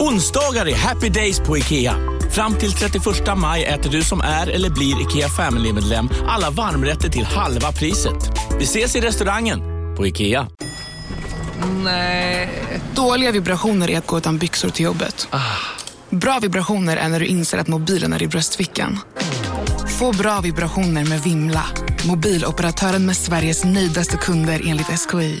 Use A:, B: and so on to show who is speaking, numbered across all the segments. A: Onsdagar är happy days på IKEA. Fram till 31 maj äter du som är eller blir IKEA Family-medlem alla varmrätter till halva priset. Vi ses i restaurangen på IKEA.
B: Eh, Dåliga vibrationer är att gå utan byxor till jobbet. Bra vibrationer är när du inser att mobilen är i bröstfickan. Få bra vibrationer med Vimla. Mobiloperatören med Sveriges nöjdaste kunder enligt SKI.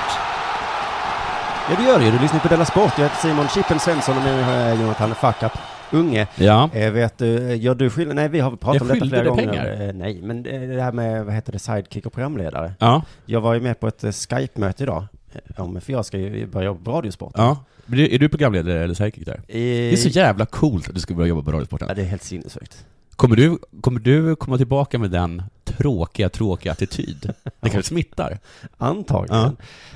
C: Ja det gör det ju, du lyssnar på Della Sport. Jag heter Simon Chippen Svensson och med mig har jag Jonathan Fackap Unge.
D: Ja.
C: Eh, vet du, gör du skillnad? Nej, vi har pratat
D: Jag
C: om detta
D: skyllde
C: flera
D: dig
C: gånger.
D: pengar.
C: Eh, Nej, men eh, det här med, vad heter det, sidekick och programledare.
D: Ja.
C: Jag var ju med på ett eh, Skype-möte idag, eh, om, för jag ska ju börja jobba på Radiosport.
D: ja. Men det- Är du programledare eller psychic där?
C: Eh,
D: Det är så jävla coolt att du ska börja jobba på
C: ja,
D: Radiosporten.
C: det är helt sinnessjukt.
D: Kommer du, kommer du komma tillbaka med den tråkiga, tråkiga attityd? Det kanske smittar?
C: Antagligen.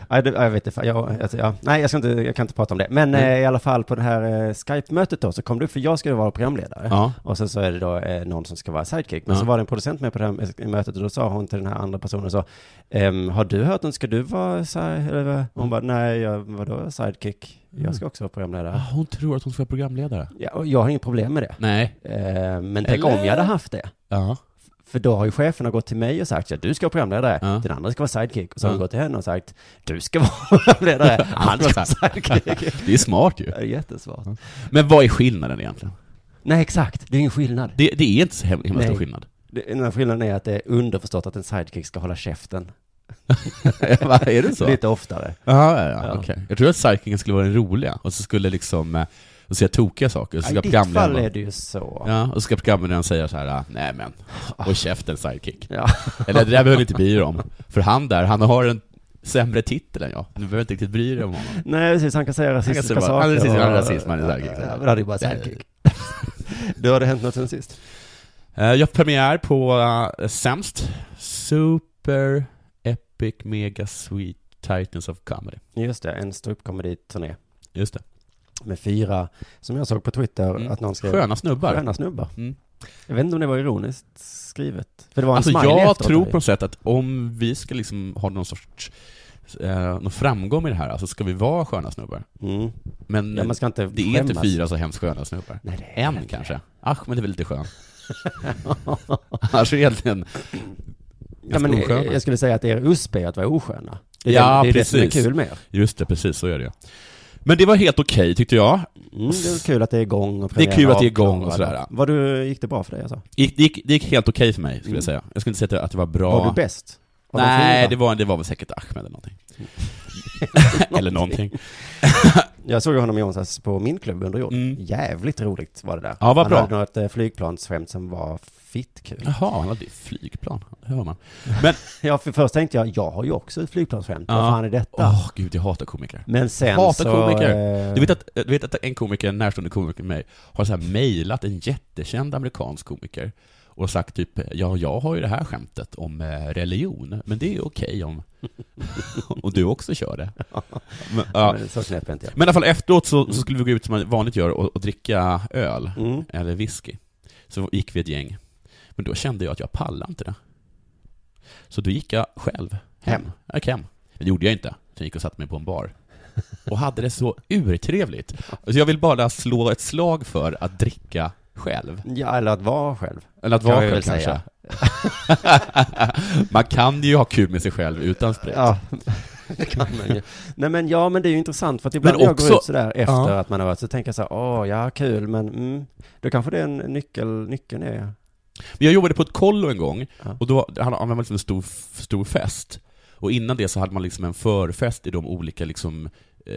C: Nej, det, jag vet inte, fan, jag, alltså, ja. Nej, jag, ska inte, jag kan inte prata om det. Men eh, i alla fall på det här eh, Skype-mötet då, så kom du, för jag ska ju vara programledare.
D: Ja.
C: Och sen så är det då eh, någon som ska vara sidekick. Men
D: Ja.
C: så var det en producent med på det här eh, mötet och då sa hon till den här andra personen så, ehm, har du hört den, ska du vara side, eller vad? Hon bara, nej, jag, vadå sidekick? Jag ska också vara programledare.
D: Ah, Hon tror att hon ska vara programledare.
C: Ja, och jag har inget problem med det.
D: Nej.
C: Eh, men tänk
D: Eller?
C: om jag hade haft det.
D: Ja.
C: För då har ju cheferna gått till mig och sagt att du ska vara programledare,
D: Ja.
C: den andra ska vara sidekick. Och så har de
D: Ja.
C: gått till henne och sagt du ska vara programledare, han ska vara
D: Han ska
C: sidekick.
D: Det är smart ju.
C: Det är jättesvårt.
D: Men vad är skillnaden egentligen?
C: Nej, exakt. Det är ingen skillnad.
D: Det, det är inte så himla himla stor
C: Nej.
D: skillnad.
C: Det- Den här skillnaden är att det är underförstått att en sidekick ska hålla käften
D: Va, är det så?
C: lite oftare.
D: Jaha, ja, ja.
C: Ja.
D: okej. Jag tror att psychiken skulle vara den roliga, och så skulle liksom, eh, och säga tokiga saker, och så
C: I
D: ska
C: ditt fall
D: programledaren
C: är det ju så. Ja.
D: Ja, och så ska programledaren säga så här, ah, nej men, och käften sidekick. Eller det där behöver ni inte bry er om, för han där, han har en sämre titel än jag. Du behöver inte riktigt bry dig om honom.
C: Nej, precis. Han kan säga rasistiska
D: säga bara,
C: saker.
D: han är rasist,
C: och-
D: han är rasist, han är sidekick.
C: Ja, men det är ju bara sidekick. Då har det hänt något sen sist.
D: Eh, Jag har premiär på eh, Sämst, Super Epic Mega Sweet Titans of Comedy.
C: Just det, en ståuppkomediturné
D: Just det.
C: med fyra, som jag såg på Twitter
D: Mm.
C: att någon skrev.
D: Sköna snubbar.
C: Sköna snubbar.
D: Mm.
C: Jag vet inte om det var ironiskt skrivet. För det var en
D: Alltså
C: smiley
D: jag
C: efteråt
D: tror
C: här.
D: på något sätt att om vi ska liksom ha någon sorts eh, någon framgång med det här, alltså ska vi vara sköna snubbar.
C: Mm.
D: Men
C: Ja, man ska inte
D: det är
C: skämmas.
D: inte fyra så hemskt sköna snubbar.
C: Nej, det är
D: En
C: det.
D: kanske. Ach, men det är väl lite skön. Annars är det egentligen
C: Ja, men
D: osköna.
C: jag skulle säga att er USP är att vara osköna. Det är,
D: Ja,
C: det, det, är det som är
D: precis.
C: kul med er.
D: Just det, precis så är det Men det var helt okej tyckte jag.
C: Mm, det är kul att det är igång och
D: Det är kul
C: premiär
D: att det är igång och
C: avklarad.
D: sådär.
C: Vad du, gick det bra för dig alltså?
D: Gick- Det gick, det gick helt okej för mig, skulle jag säga. Jag skulle inte säga att det- att det var bra.
C: Mm. Var du bäst? Av de
D: Nej,
C: fyra?
D: det var, det var väl säkert Ahmed eller någonting. eller någonting.
C: Jag såg ju honom i onsdags på min klubb under jord.
D: Mm.
C: Jävligt roligt var det där.
D: Ja, vad
C: Han
D: bra.
C: hade något eh, flygplansskämt som var fitt kul.
D: Jaha, han hade ju flygplan. Det hör man. Men,
C: Ja, för först tänkte jag, jag har ju också ett flygplansskämt.
D: Ja.
C: Vad fan är detta?
D: åh gud, jag hatar komiker.
C: Men sen
D: Hatar
C: så...
D: komiker.
C: eh,
D: Du vet, att, du vet att en komiker, en närstående komiker med mig, har så här mejlat en jättekänd amerikansk komiker och sagt typ ja, jag har ju det här skämtet om eh, religion, men det är ju okej om... och du också kör det. Men, ja.
C: Men Så knäpp är inte jag.
D: men i alla fall efteråt så, så skulle vi gå ut som man vanligt gör och, och dricka öl,
C: Mm.
D: eller whisky. Så gick vi ett gäng. Men då kände jag att jag pallade inte det. Så då gick jag själv hem.
C: Hem.
D: Jag gick hem. Det gjorde jag inte. Så jag gick och satte mig på en bar. Och hade det så urtrevligt. Så jag vill bara slå ett slag för att dricka själv.
C: Ja, eller att vara själv.
D: Eller att
C: Kan
D: vara
C: jag
D: själv
C: väl
D: kanske.
C: säga.
D: Man kan ju ha kul med sig själv utan sprit.
C: Ja, det kan man ju. Nej men ja, men det är ju intressant för att ibland
D: Men
C: när jag
D: också-
C: går ut sådär efter
D: Ja.
C: att man har varit så tänker jag så här, åh ja, kul, men mm, då kanske det är en nyckel, nyckeln är
D: Men jag jobbade på ett kollo en gång,
C: Ja.
D: och då, han använde liksom en stor, stor fest. Och innan det så hade man liksom en förfest i de olika liksom, eh,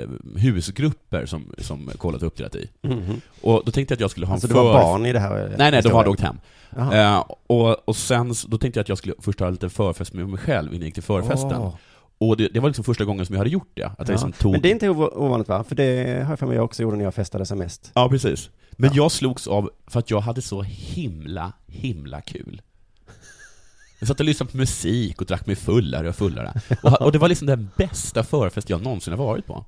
D: eh, husgrupper som, som kollat upp det där i.
C: Mhm.
D: Och då tänkte jag att jag skulle ha en
C: Alltså det
D: förfest.
C: var barn i det här?
D: Nej, nej, de hade åkt hem.
C: Jaha.
D: Eh, och, och sen, så- då tänkte jag att jag skulle först ha lite förfest med mig själv innan jag gick till förfesten.
C: Åh.
D: Och det, det var liksom första gången som jag hade gjort det. Att jag liksom
C: Ja.
D: tog...
C: Men det är inte ov- ovanligt va? För det har jag för mig jag också gjorde när jag festade som mest.
D: Ja, precis. Men jag slogs av för att jag hade så himla, himla kul. Jag satt och lyssnade på musik och drack mig fullare och fullare. Och, och det var liksom den bästa förfest jag någonsin har varit på.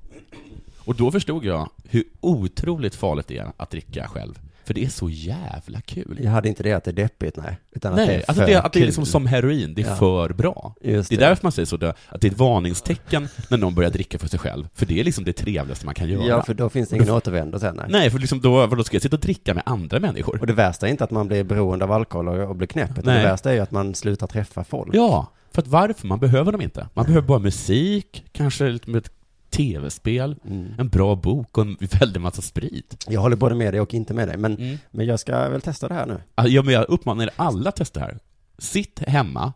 D: Och då förstod jag hur otroligt farligt det är att dricka själv. För det är så jävla kul.
C: Jag hade inte det att det är deppigt, nej. Utan att det
D: Nej,
C: är
D: alltså
C: för
D: det, att det är
C: kul.
D: liksom som heroin, det är
C: Ja.
D: för bra.
C: Just
D: Det är
C: det.
D: därför man säger så, då, att det är ett varningstecken när någon börjar dricka för sig själv. För det är liksom det trevligaste man kan göra.
C: Ja, för då finns det ingen återvändo sen, nej.
D: Nej, för liksom då, vadå, ska jag sitta och dricka med andra människor?
C: Och det värsta är inte att man blir beroende av alkohol och, och blir knäpp, utan
D: Nej.
C: det värsta är ju att man slutar träffa folk.
D: Ja, för att varför? Man behöver dem inte. Man behöver bara musik, kanske lite med ett tv-spel, en bra bok och en väldig massa sprit.
C: Jag håller både med dig och inte med dig, men,
D: Mm.
C: men jag ska väl testa det här nu.
D: Alltså, ja, men jag uppmanar er alla att testa det här. Sitt hemma,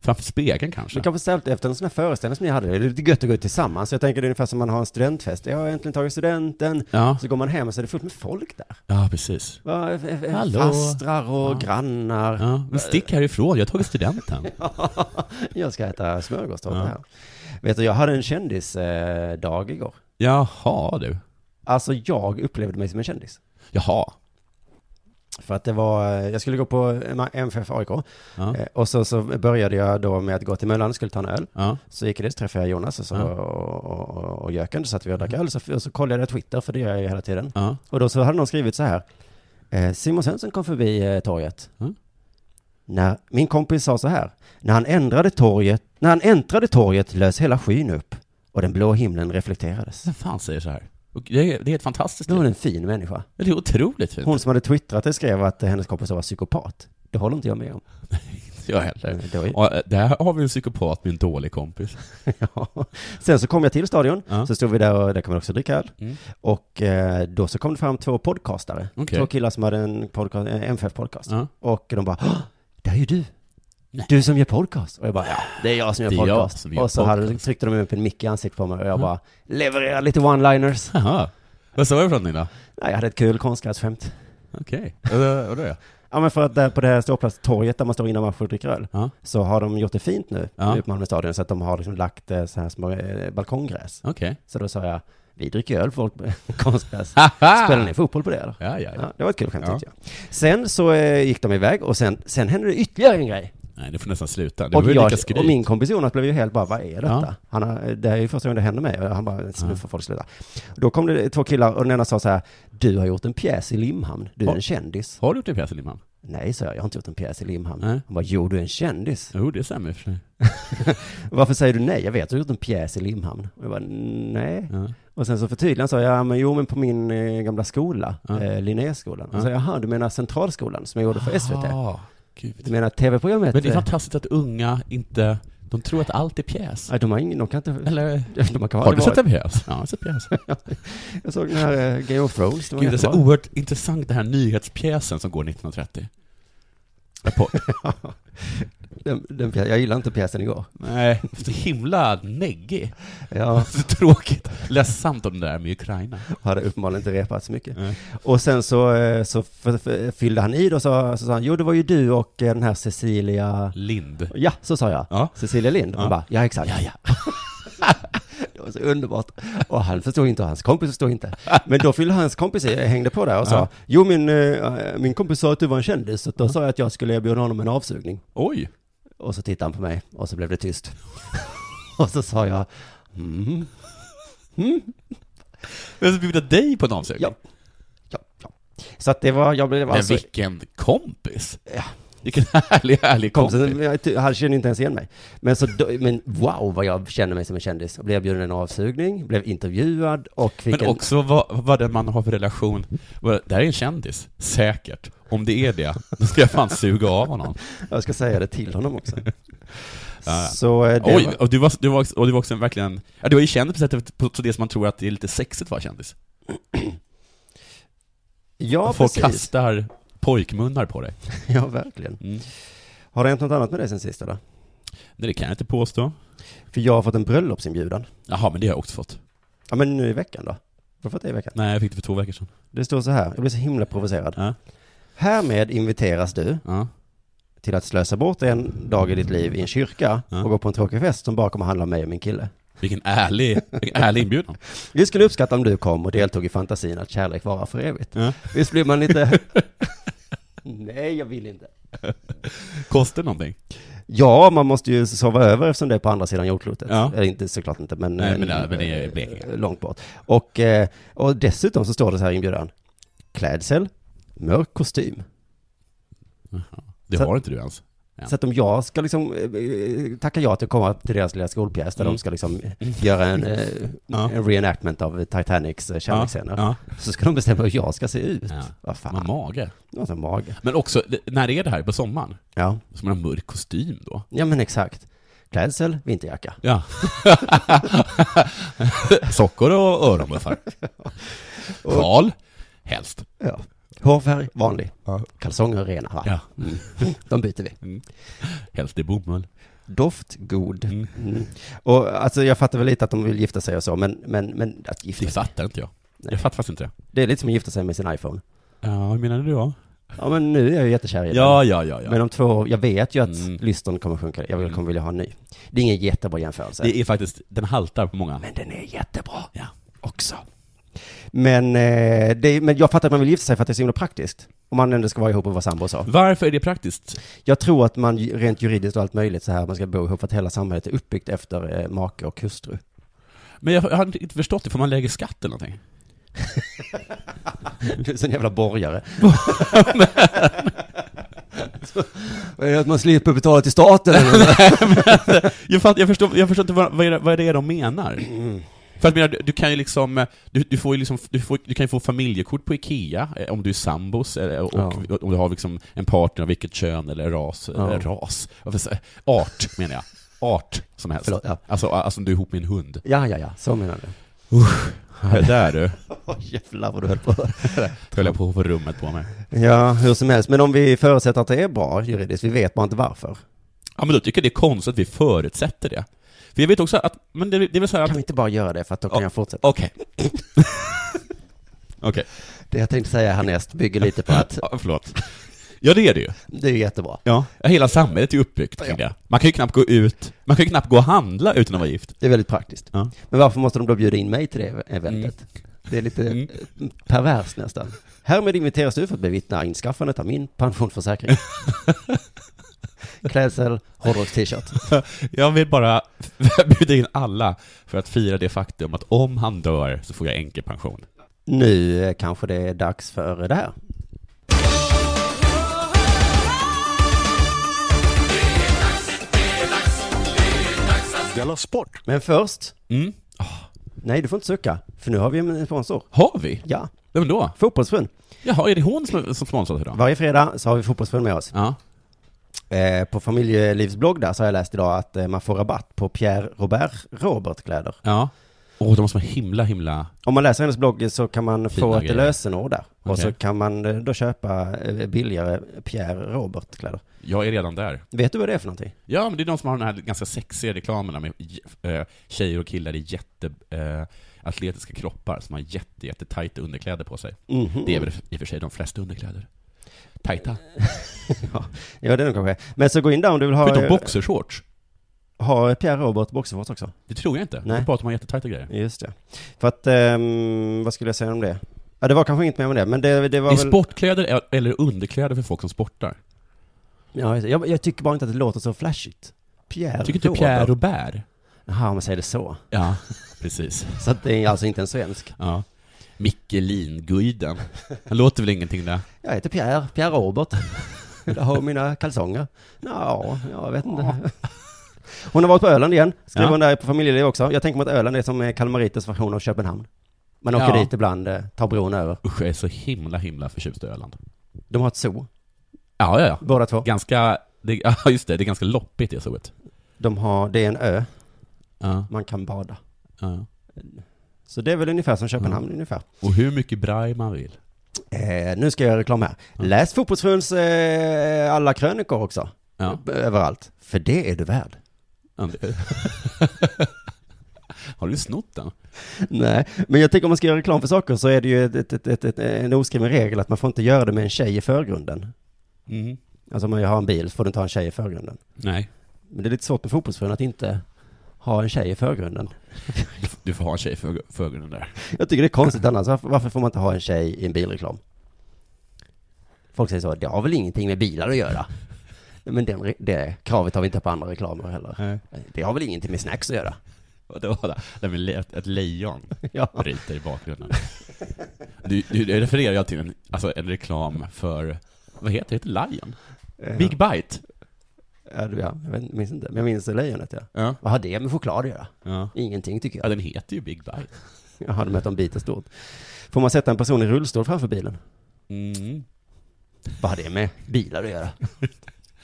D: framför spegeln kanske.
C: Vi kan få ställt efter en sån här föreställning som ni hade, det är lite gött att gå ut tillsammans. Jag tänker det är ungefär som man har en studentfest. Jag har äntligen tagit studenten.
D: Ja.
C: Så går man hem och så är det fullt med folk där.
D: ja, precis.
C: Va, f- f-
D: Hallå.
C: Fastrar och grannar.
D: Ja, men stick härifrån, jag har tagit studenten.
C: Jag ska äta smörgåstårta
D: Ja.
C: här. Vet du, jag hade en kändisdag igår.
D: Jaha du.
C: Alltså jag upplevde mig som en kändis.
D: Jaha.
C: För att det var, eh, jag skulle gå på eh, MFF AIK.
D: Ja.
C: Eh, Och så, så började jag då med att gå till Möllan och skulle ta en öl.
D: Ja.
C: Så gick jag dit, så träffade jag Jonas och, så,
D: Ja.
C: och, och, och, och Jöken, så satt vi och drack öl. Så, och så kollade jag Twitter, för det gör jag ju hela tiden.
D: Ja.
C: Och då så hade någon skrivit så här. Eh, Simon Svensson kom förbi eh, torget.
D: Mm.
C: När, min kompis sa så här. När han, ändrade torget, när han äntrade torget lös hela skyn upp och den blå himlen reflekterades.
D: Vem fan säger så här? Och Det är, det är ett fantastiskt
C: Det var
D: liv.
C: en fin människa.
D: Det är otroligt fint.
C: Hon som hade twittrat det skrev att eh, hennes kompis var psykopat. Det håller inte jag med om.
D: Jag heller.
C: Det var ju-
D: Ja, där har vi en psykopat med en dålig kompis.
C: Ja. Sen så kom jag till stadion,
D: Ja.
C: så stod vi där och där kan man också dricka öl.
D: Mm.
C: Och eh, då så kom det fram två podcastare.
D: Okej.
C: Två killar som hade en podcast, en MFF-podcast.
D: Ja.
C: Och de bara, "Hå! där är ju du.
D: Nej.
C: Du som gör podcast. Och jag bara, ja, det är jag som gör
D: Det är jag
C: podcast.
D: som gör
C: och så Hade,
D: podcast.
C: tryckte de upp en mick i ansiktet på mig och jag bara, leverera lite one-liners.
D: Jaha. Vad sa du för någonting då?
C: Nej, jag hade ett kul konstgrässkämt.
D: Okej. Vadå vadå ja?
C: Ja men för att där på det här ståplatstorget där man står innan matchen och dricker öl,
D: Ja.
C: så har de gjort det fint nu,
D: Ja.
C: ja. på Malmö stadion, så att de har liksom lagt eh, så här små eh, balkonggräs.
D: Okej.
C: Så då sa jag, vi dricker öl folk med konstgräs.
D: Haha!
C: Spelar ni fotboll på det eller?
D: Ja, ja, ja.
C: Ja, det var ett kul skämt
D: Ja.
C: tyckte jag. Sen så eh, gick de iväg och sen, sen hände det ytterligare en grej.
D: Nej, du får nästan sluta. Det var
C: Och,
D: ju
C: jag,
D: lika skryt.
C: och min kompis Jonas blev ju helt bara, vad är detta?
D: Ja.
C: Han har, eh, det här är ju första gången det händer mig. Och Han bara, nu får folk sluta. Då kom det två killar och den ena sa så här, du har gjort en pjäs i Limhamn, du är
D: Ja.
C: en kändis.
D: Har du gjort det pjäs i Limhamn?
C: Nej, sa jag, jag har inte gjort en pjäs i Limhamn.
D: Nej.
C: Han bara, jo du är en kändis.
D: Jo, det stämmer i och för sig.
C: Varför säger du nej? Jag vet, du har gjort en pjäs i Limhamn. Och jag bara, nej.
D: Ja.
C: Och sen så förtydligade han så, ja men jo men på min eh, gamla skola,
D: Ja.
C: eh, Linnéskolan. Och så, jaha, du menar Centralskolan som jag gjorde för SVT?
D: Ah,
C: Du
D: gud.
C: menar tv-programmet?
D: Men det är
C: eh,
D: fantastiskt att unga inte... De tror att allt är pjäs.
C: Nej, de har ingen, de kan inte...
D: Eller?
C: De kan
D: Har du sett
C: varit.
D: en pjäs? Ja, jag har sett pjäs.
C: Jag såg den här eh, Game of Thrones, det var
D: Gud, det är så
C: jättebra.
D: oerhört intressant den här nyhetspjäsen som går 1930. Rapport.
C: Den, den, pjä- jag gillar inte pjäsen igår.
D: Nej, så himla neggig.
C: Jag
D: Så tråkigt. Ledsamt om det där med Ukraina.
C: hade uppenbarligen inte repat så mycket.
D: Nej.
C: Och sen så, eh, så f- f- fyllde han i då, så, så sa han, jo det var ju du och eh, den här Cecilia...
D: Lind.
C: Ja, så sa jag.
D: Ja.
C: Cecilia Lind.
D: Ja.
C: Hon bara, ja exakt.
D: Ja, ja.
C: Det var så underbart. Och han förstod inte och hans kompis förstod inte. Men då fyllde hans kompis i, hängde på där och sa,
D: Ja.
C: jo min, eh, min kompis sa att du var en kändis, så då sa jag att jag skulle erbjuda honom en avsugning.
D: Oj.
C: Och så tittade han på mig och så blev det tyst. och så sa jag, mm,
D: Men så bjuda dig på en avsugning?
C: ja, ja, ja. Så att det var, jag blev
D: Men
C: alltså...
D: vilken kompis! Vilken härlig, härlig kompis.
C: Kompisen, jag ty- han kände inte ens igen mig. Men, så, då- men wow vad jag kände mig som en kändis. Jag blev erbjuden en avsugning, blev intervjuad och fick
D: Men
C: en...
D: också vad, vad det man har för relation. Vad- Det här är en kändis, säkert. Om det är det, då ska jag fan suga av honom.
C: Jag ska säga det till honom också.
D: ja.
C: Så eh, det
D: Oj,
C: var,
D: och du var, du var, också- och du var också en verkligen... Ja, du var ju känd på sättet, på så det som man tror att det är lite sexigt att vara kändis.
C: ja
D: Folk
C: precis.
D: kastar pojkmunnar på dig.
C: Ja, verkligen.
D: Mm.
C: Har det hänt något annat med dig sen sist eller?
D: Nej, det kan jag inte påstå.
C: För jag har fått en bröllopsinbjudan.
D: Jaha, men det har jag också fått.
C: Ja men nu i veckan då. Har du fått det i veckan?
D: Nej, jag fick det för två veckor sedan.
C: Det står så här, jag blir så himla provocerad.
D: Ja.
C: Härmed inviteras du
D: Ja.
C: till att slösa bort en dag i ditt liv i en kyrka
D: Ja.
C: och gå på en tråkig fest som bara kommer handla om mig och min kille.
D: Vilken ärlig, vilken ärlig inbjudan.
C: Vi skulle uppskatta om du kom och deltog i fantasin att kärlek varar för evigt.
D: Ja.
C: Visst blir man lite... Nej, jag vill inte.
D: Kostar det någonting?
C: Ja, man måste ju sova över eftersom det är på andra sidan jordklotet.
D: Ja.
C: Eller inte, såklart inte, men... eh,
D: Nej, men det- men det är Blekinge.
C: Långt bort. Och, eh, och dessutom så står det så här i inbjudan. Klädsel, mörk kostym.
D: Det
C: Så-
D: har inte du ens. Ja.
C: Så att om jag ska liksom eh, tacka ja till att komma till deras lilla skolpjäs där
D: Mm.
C: de ska liksom göra en, eh,
D: Ja.
C: en reenactment av Titanics eh, kärleksscener.
D: Ja,
C: Så ska de bestämma hur jag ska se ut.
D: Ja.
C: Vad
D: ja. Med
C: fan.
D: mage.
C: Någon som mage.
D: Men också, det- när är det här? På sommaren?
C: Ja.
D: Som en mörk kostym då?
C: ja, men exakt. Klädsel, vinterjacka.
D: Ja. Sockor och öronmuffar. Sjal, helst.
C: Ja. Hårfärg, vanlig.
D: Ja.
C: Kalsonger, rena. Va?
D: Ja,
C: De byter vi.
D: helst i bomull.
C: Doft, god.
D: Mm.
C: Mm. Och alltså jag fattar väl lite att de vill gifta sig och så, men, men, men att gifta
D: Det
C: sig.
D: fattar inte jag.
C: Nej.
D: Jag fattar faktiskt inte det.
C: Det är lite som att gifta sig med sin iPhone.
D: Ja, hur menar du då?
C: Ja, men nu är jag ju jättekär i den.
D: Ja, ja, ja,
C: Men
D: ja.
C: om två år, jag vet ju att
D: Mm.
C: lysten kommer sjunka. Jag vill- kommer vilja ha en ny. Det är ingen jättebra jämförelse.
D: Det är faktiskt, den haltar på många.
C: Men den är jättebra
D: Ja.
C: också. Men, eh, det, är- men jag fattar att man vill gifta sig för att det är så himla praktiskt. Om man ändå ska vara ihop och vara sambo och så.
D: Varför är det praktiskt?
C: Jag tror att man ju- rent juridiskt och allt möjligt så här, man ska bo ihop för att hela samhället är uppbyggt efter eh, make och hustru.
D: Men jag har inte inte förstått det, får man lägre skatt eller någonting?
C: Du är en jävla borgare. Vad är det att man slipper betala till staten?
D: Jag, fatt, jag, förstår, jag förstår inte vad, vad, är det, vad är det de menar. För att menar, du, du kan ju liksom, eh, du, du får ju liksom, du, får, du kan ju få familjekort på Ikea eh, om du är sambos eller, och,
C: Ja.
D: och om du har liksom en partner av vilket kön eller ras,
C: Ja.
D: eller ras, Varför säger- art menar jag. Art som helst.
C: Förlåt, ja.
D: Alltså, alltså om du är ihop med en hund.
C: ja, ja, ja, så menar du.
D: där du,
C: Åh jävlar vad du höll på.
D: höll jag på att få rummet på mig.
C: Ja, hur som helst. Men om vi förutsätter att det är bra juridiskt, vi vet bara inte varför.
D: Ja men då tycker jag det är konstigt att vi förutsätter det. För jag vet också att, men det, det är väl så här att,
C: Kan vi inte bara göra det för att då kan
D: Ja.
C: jag fortsätta?
D: okej. Okej,
C: Det jag tänkte säga härnäst bygger lite på att
D: ja, förlåt. Ja det är det ju.
C: det är jättebra.
D: Ja. Hela samhället är ju uppbyggt kring det. Man kan ju knappt gå ut, man kan ju knappt gå och handla utan att vara gift.
C: Det är väldigt praktiskt.
D: Ja.
C: Men varför måste de då bjuda in mig till det eventet? Det är lite
D: Mm.
C: eh, perverst nästan. Härmed inviteras du för att bevittna inskaffandet av min pensionsförsäkring. Klädsel, hårdrocks t-shirt.
D: Jag vill bara bjuda in alla för att fira det faktum att om han dör så får jag änkepension.
C: Nu eh, kanske det är dags för det här.
E: Della Sport!
C: Men först,
D: Mm.
C: nej du får inte sucka, för nu har vi en sponsor.
D: Har vi?
C: Ja,
D: Vem då?
C: Fotbollsförbund.
D: Jaha, är det hon som, som sponsrar idag?
C: Varje fredag så har vi Fotbollsförbund med oss.
D: Ja.
C: Eh, på familjelivsblogg där så har jag läst idag att eh, man får rabatt på Pierre Robert Robert-kläder.
D: Ja. Åh, de måste vara himla, himla...
C: Om man läser hennes blogg så kan man
D: Fina
C: få ett
D: grejer.
C: lösenord där. Och så
D: Okej.
C: kan man eh, då köpa eh, billigare Pierre Robert-kläder.
D: Jag är redan där.
C: Vet du vad det är för någonting?
D: Ja, men det är de som har de här ganska sexiga reklamerna med eh, tjejer och killar i jätte... Eh, atletiska kroppar som har jätte, jätte tajta underkläder på sig.
C: Mhm.
D: Det är väl i och för sig de flesta underkläder. Tajta.
C: Ja, det är nog kanske. Men så gå in där om du vill ha,
D: Förutom
C: eh,
D: boxershorts.
C: ha Pierre Robert boxershorts också.
D: Det tror jag inte. Det
C: Nej.
D: är bara att de har jättetajta grejer.
C: Just det. För att, ehm, vad skulle jag säga om det? Ja, det var kanske inget mer om det, men det, det var
D: Det är
C: väl...
D: sportkläder eller underkläder för folk som sportar.
C: Ja, just det. jag, jag tycker bara inte att det låter så flashigt. Pierre
D: Tycker inte Pierre Robert?
C: Jaha, om man säger det så.
D: Ja, precis.
C: Så att det är alltså inte en svensk.
D: Ja. Mickelin-guiden. Han låter väl ingenting där?
C: Jag heter Pierre, Pierre Robert. Vill du ha mina kalsonger? Ja, jag vet inte. Hon har varit på Öland igen, skriver
D: Ja.
C: hon där på familjeliv också. Jag tänker mig att Öland är som eh, Kalmarites version av Köpenhamn. Man åker
D: Ja.
C: dit ibland, eh, tar bron över.
D: Usch, jag är så himla, himla förtjust i Öland.
C: De har ett zoo,
D: Ja, ja, ja.
C: båda två.
D: Ganska... Det, ja, just det. Det är ganska loppigt det zooet.
C: De har, det är en ö,
D: Ja,
C: man kan bada.
D: ja.
C: Så det är väl ungefär som Köpenhamn ungefär.
D: Och hur mycket braj man vill.
C: Eh, nu ska jag göra reklam här. Läs Fotbollsfruns eh, alla krönikor också.
D: Ja.
C: Överallt. För det är du värd.
D: André. Har du snott den?
C: Nej, men jag tänker om man ska göra reklam för saker så är det ju ett, ett, ett, ett, ett, en oskriven regel att man får inte göra det med en tjej i förgrunden. Alltså om man har en bil så får du inte ha en tjej i förgrunden.
D: Mm. Nej.
C: Men det är lite svårt med fotbollsfrun att inte ha en tjej i förgrunden.
D: Du får ha en tjej för förgrunden där.
C: Jag tycker det är konstigt annars. Varför, varför får man inte ha en tjej i en bilreklam? Folk säger så, det har väl ingenting med bilar att göra. Men den, re- det kravet har vi inte på andra reklamer heller.
D: Nej.
C: Det har väl ingenting med snacks att göra.
D: Och Det var det. det med le- ett lejon
C: Ja.
D: ryter i bakgrunden. Du, du, det refererar jag till en, alltså en reklam för, vad heter det? Heter Lion? Big Bite?
C: Ja, du, ja, jag vet- minns inte, men jag minns lejonet ja.
D: Ja.
C: Vad har det med choklad att göra?
D: ja.
C: Ingenting tycker
D: Ja,
C: jag.
D: den heter ju Big Bite.
C: Jaha, de att de biter stort. Får man sätta en person i rullstol framför bilen?
D: Mm.
C: Vad har det med bilar att göra?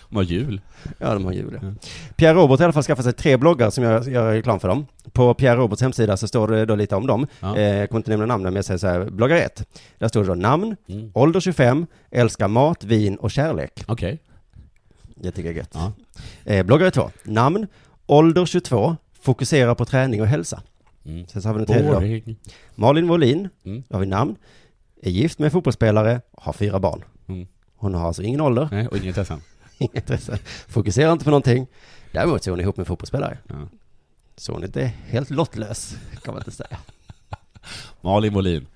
D: De har hjul.
C: Ja, de har jul. ja. Pierre Robert i alla fall skaffar sig tre bloggar som jag gör reklam för dem. På Pierre Roberts hemsida så står det då lite om dem.
D: Ja.
C: Eh, jag kommer inte nämna namnen, men jag säger så här, bloggar ett. Där står det då namn,
D: Mm.
C: ålder 25, älskar mat, vin och kärlek.
D: Okej.
C: Jag tycker det är gött.
D: Ja.
C: Eh, bloggare två, namn, ålder 22, fokusera på träning och hälsa.
D: Mm.
C: Sen så har vi den tredje då. Malin Wåhlin,
D: Mm.
C: då har vi namn, är gift med en fotbollsspelare, har fyra barn.
D: Mm.
C: Hon har alltså ingen ålder,
D: Nej, och inget intressant.
C: inget intresse, fokuserar inte på någonting. Däremot så är hon ihop med en fotbollsspelare.
D: Ja.
C: Så hon är inte helt lottlös, kan man inte säga.
D: Malin Molin.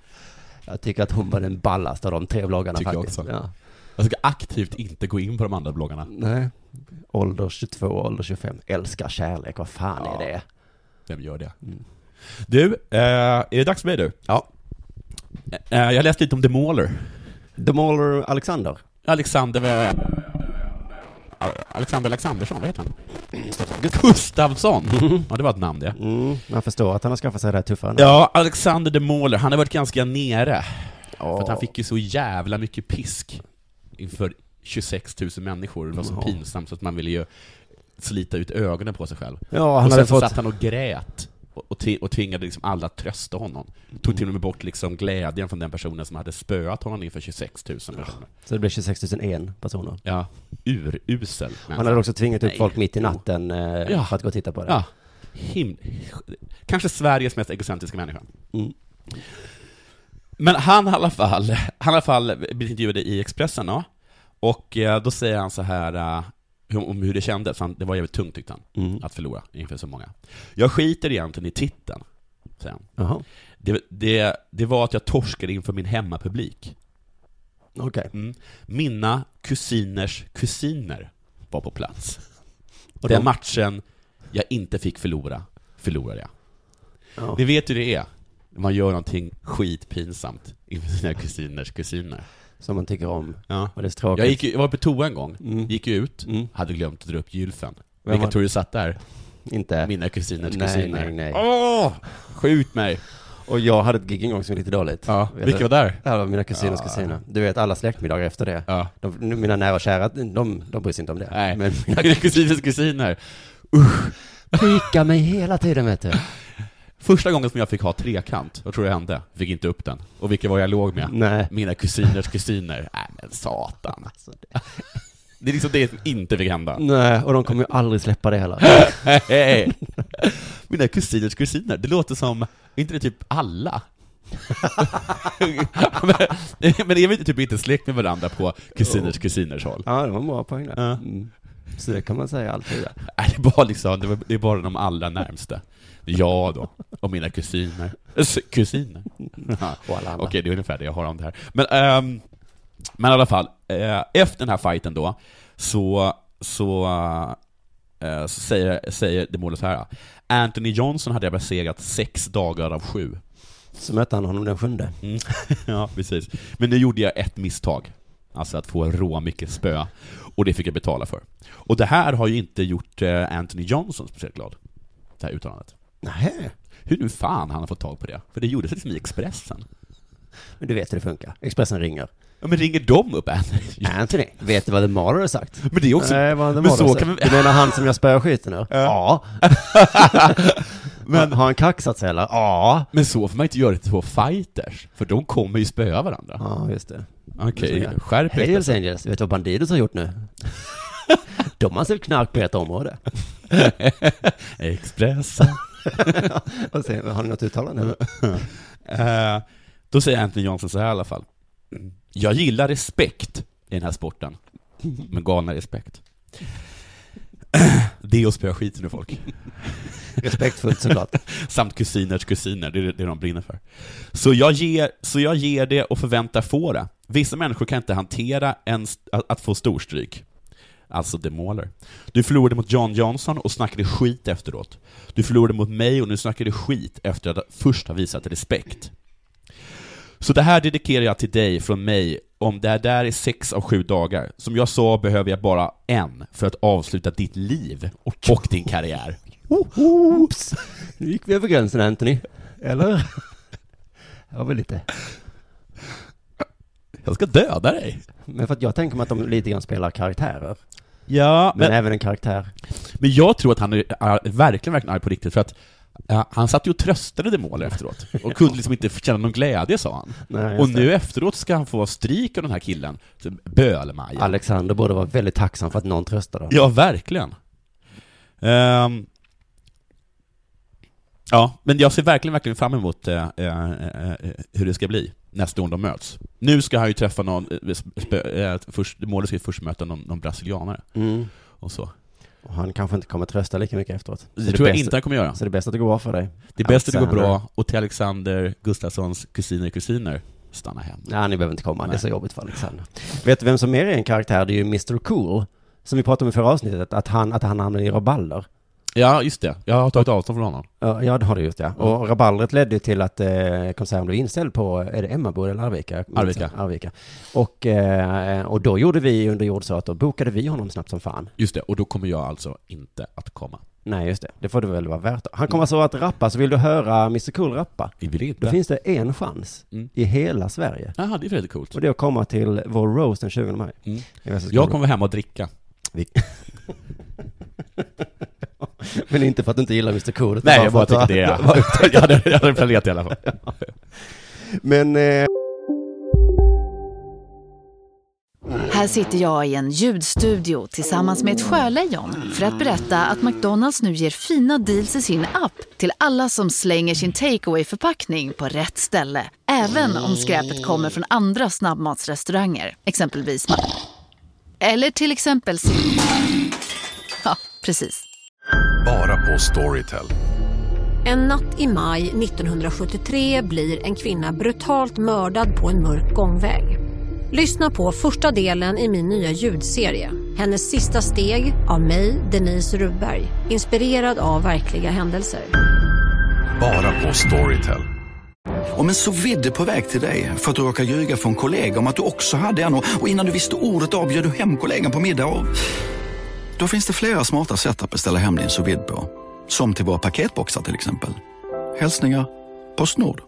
C: Jag tycker att hon var den ballaste av de tre bloggarna
D: Tycker jag
C: faktiskt.
D: också.
C: Ja.
D: Jag ska aktivt inte gå in på de andra bloggarna.
C: Nej. Ålder 22, ålder 25, älskar kärlek, vad fan är det?
D: Vem gör det? Du, eh, är det dags för mig du? Mm. Ja. Eh, jag läste lite om The Mauler.
C: The Mauler Alexander.
D: Alexander... eh, Alexander Alexandersson, vad heter han? Gustafsson! Ja, det var ett namn det.
C: Mm, man förstår att han har skaffat sig det här tuffare.
D: Ja, Alexander De Mauler, han har varit ganska nere. För att han
C: Ja.
D: fick ju så jävla mycket pisk inför 26 000 människor. Det var så pinsamt så att man ville ju slita ut ögonen på sig själv.
C: Ja, han
D: och sen
C: hade
D: så
C: fått...
D: satt han och grät och, och, tvi- och tvingade liksom alla att trösta honom. Tog till och med bort liksom glädjen från den personen som hade spöat honom inför 26 000 personer.
C: Så det blev 26 001 personer.
D: Ja, urusel
C: Han
D: människa.
C: hade också tvingat ut
D: Nej.
C: folk mitt i natten eh,
D: Ja.
C: för att gå och titta på det.
D: Ja. Him- Kanske Sveriges mest egocentriska människa.
C: Mm.
D: Men han i alla fall, han i alla fall blir intervjuad i Expressen då. Och eh, då säger han så här eh, hur- om hur det kändes, han, det var jävligt tungt tyckte han,
C: Mm.
D: att förlora inför så många. Jag skiter egentligen i titeln, säger han.
C: Jaha,
D: Det, det, det var att jag torskade inför min hemmapublik.
C: okej.
D: Mm. Mina kusiners kusiner var på plats.
C: Och
D: Den
C: de-
D: matchen jag inte fick förlora, förlorade jag.
C: Ja.
D: Ni vet hur det är, när man gör någonting skitpinsamt inför sina kusiners kusiner.
C: Som man tycker om.
D: Ja.
C: Och det är så tråkigt.
D: Jag, gick, ju- jag var på toa en gång,
C: Mm.
D: gick ju ut,
C: Mm.
D: hade glömt att dra upp gylfen.
C: Vem
D: Vilka
C: var-
D: tror du satt där?
C: Inte.
D: Mina kusiners
C: Nej,
D: kusiner.
C: nej, nej.
D: Åh! Skjut mig!
C: Och jag hade ett gig en gång som var lite dåligt.
D: Ja,
C: Vet
D: vilka
C: du?
D: var där?
C: Det här var mina kusiners kusiner. Du vet, alla släktmiddagar efter det.
D: Ja.
C: De, mina nära och kära, de, de bryr sig inte om det.
D: Nej,
C: Men
D: mina kusiners kusiner.
C: prickar mig hela tiden, vet du.
D: Första gången som jag fick ha trekant, vad tror jag hände? Fick inte upp den. Och vilka var jag låg med?
C: Nej.
D: Mina kusiners kusiner. Nej men satan. alltså.
C: Alltså,
D: Det är liksom det som inte fick hända.
C: Nej, och de kommer ju aldrig släppa det heller.
D: Hej. Mina kusiners kusiner, det låter som, är inte det typ alla? men, men är vi inte typ inte släkt med varandra på kusiners kusiners håll?
C: Ja, det var en bra poäng där.
D: Ja.
C: Mm. Så det kan man säga alltid. ja.
D: Nej, det är bara liksom, det var- det är bara de allra närmsta. Jag då, och mina kusiner. S- Kusiner.
C: Och alla andra.
D: Okej, det är ungefär det jag har om det här. Men, ehm, men i alla fall, eh, efter den här fighten då, så, så, eh, så säger, säger det målet så här. Anthony Johnson hade jag besegrat sex dagar av sju.
C: Så mötte han honom den sjunde.
D: Mm. ja, precis. Men nu gjorde jag ett misstag. Alltså att få rå mycket spö. Och det fick jag betala för. Och det här har ju inte gjort eh, Anthony Johnson speciellt glad. Det här uttalandet.
C: Nej.
D: Hur nu fan han har fått tag på det? För det gjordes liksom i Expressen.
C: Men du vet hur det funkar. Expressen ringer.
D: Ja men ringer de upp Anthony?
C: Anthony, vet du vad The Marder har sagt?
D: Men det är också...
C: Nej, vad The
D: men
C: Marder har
D: så
C: sagt.
D: kan vi...
C: Du menar han som jag spöar skiten nu? Ja. Men har han kaxat sig eller? Ja.
D: Men så får man inte göra det till två fighters. För de kommer ju spöa varandra.
C: Ja, just det.
D: Okej,
C: Så, ja.
D: skärp
C: Hej
D: er.
C: Los Angeles, vet du vad Bandidos har gjort nu? De har säljer knark på ert område.
D: Expressen.
C: Och sen, har ni något uttalande?
D: Mm.
C: eller?
D: Eh, då säger Anthony Johnson så här i alla fall. Jag gillar respekt i den här sporten. Men galna respekt. Det och spöa skiten ur folk.
C: Respektfullt såklart.
D: Samt kusiners kusiner, det är det de brinner för. Så jag ger, så jag ger det och förväntar få det. Vissa människor kan inte hantera en, st- att, att få storstryk. Alltså The Mauler. Du förlorade mot John Johnson och snackade skit efteråt. Du förlorade mot mig och nu snackar du skit efter att först ha visat respekt. Så det här dedikerar jag till dig från mig om det här där är sex av sju dagar. Som jag sa behöver jag bara en för att avsluta ditt liv och din karriär.
C: Oops! Nu gick vi över gränsen Anthony. Eller? Ja, väl lite.
D: Jag ska döda dig!
C: Men för att jag tänker mig att de lite grann spelar karaktärer.
D: Ja,
C: Men även en karaktär.
D: Men jag tror att han är, är verkligen, verkligen arg på riktigt för att eh, han satt ju och tröstade det målet efteråt och kunde liksom inte känna någon glädje sa han.
C: Nej, just
D: och
C: det.
D: nu efteråt ska han få stryk av den här killen, Bölmaja.
C: Alexander borde vara väldigt tacksam för att någon tröstar honom.
D: Ja, verkligen. Ehm. ja, men jag ser verkligen, verkligen fram emot eh, eh, eh, eh, hur det ska bli nästa gång de möts. Nu ska han ju träffa någon, eh, spö, eh, först, målet ska ju först möta någon, någon brasilianare
C: Mm.
D: och så.
C: Och han kanske inte kommer trösta lika mycket efteråt. Så
D: Det tror jag
C: bästa-
D: inte han kommer göra.
C: Så det är bäst att det går bra för dig.
D: Det är bäst att det går
C: Alexander.
D: bra och till Alexander Gustafssons kusiner kusiner, stanna hem.
C: Nej, ni behöver inte komma. Det är
D: Nej.
C: så jobbigt för Alexander. Vet du vem som mer är en karaktär? Det är ju Mr Cool. Som vi pratade om i förra avsnittet, att han, att han hamnade i rabalder.
D: Ja, just det. Jag har tagit avstånd från honom.
C: Ja, ja, det har du gjort
D: Mm.
C: ja. Och raballret ledde ju till att eh, konserten blev inställd på, är det Emmaboda eller Arvika? Jag minns
D: Arvika.
C: inte. Arvika. Och, eh, och då gjorde vi under jord så att då bokade vi honom snabbt som fan.
D: Just det, och då kommer jag alltså inte att komma.
C: Nej, just det. Det får det väl vara värt. Han kommer alltså att rappa, så vill du höra Mr Cool rappa?
D: Vi vill
C: Då
D: inte.
C: finns det en chans
D: Mm.
C: i hela Sverige.
D: Jaha, det är väldigt coolt.
C: Och det är att komma till vår roast den 20 maj.
D: Mm.
C: I Västra Skåne.
D: Jag kommer hem och dricka.
C: Men inte för att du inte gillar Mr Cool. utan
D: Nej, jag
C: för
D: bara
C: att
D: tycker
C: du-
D: det är... jag hade, jag hade planerat i alla fall.
C: Men... Eh,
F: Här sitter jag i en ljudstudio tillsammans med ett sjölejon för att berätta att McDonalds nu ger fina deals i sin app till alla som slänger sin takeaway förpackning på rätt ställe. Även om skräpet kommer från andra snabbmatsrestauranger, exempelvis Ma- Eller till exempel Sim- Ja, precis.
E: Bara på Storytel.
G: En natt i maj 1973 blir en kvinna brutalt mördad på en mörk gångväg. Lyssna på första delen i min nya ljudserie. Hennes sista steg av mig, Denise Rubberg. Inspirerad av verkliga händelser.
E: Bara på Storytel.
H: Om en så vidde på väg till dig för att du råkar ljuga från kollega om att du också hade en och och innan du visste ordet av bjöd du hem kollegan på middag och... Då finns det flera smarta sätt att beställa hem din sous vide på. Som till våra paketboxar till exempel. Hälsningar Postnord.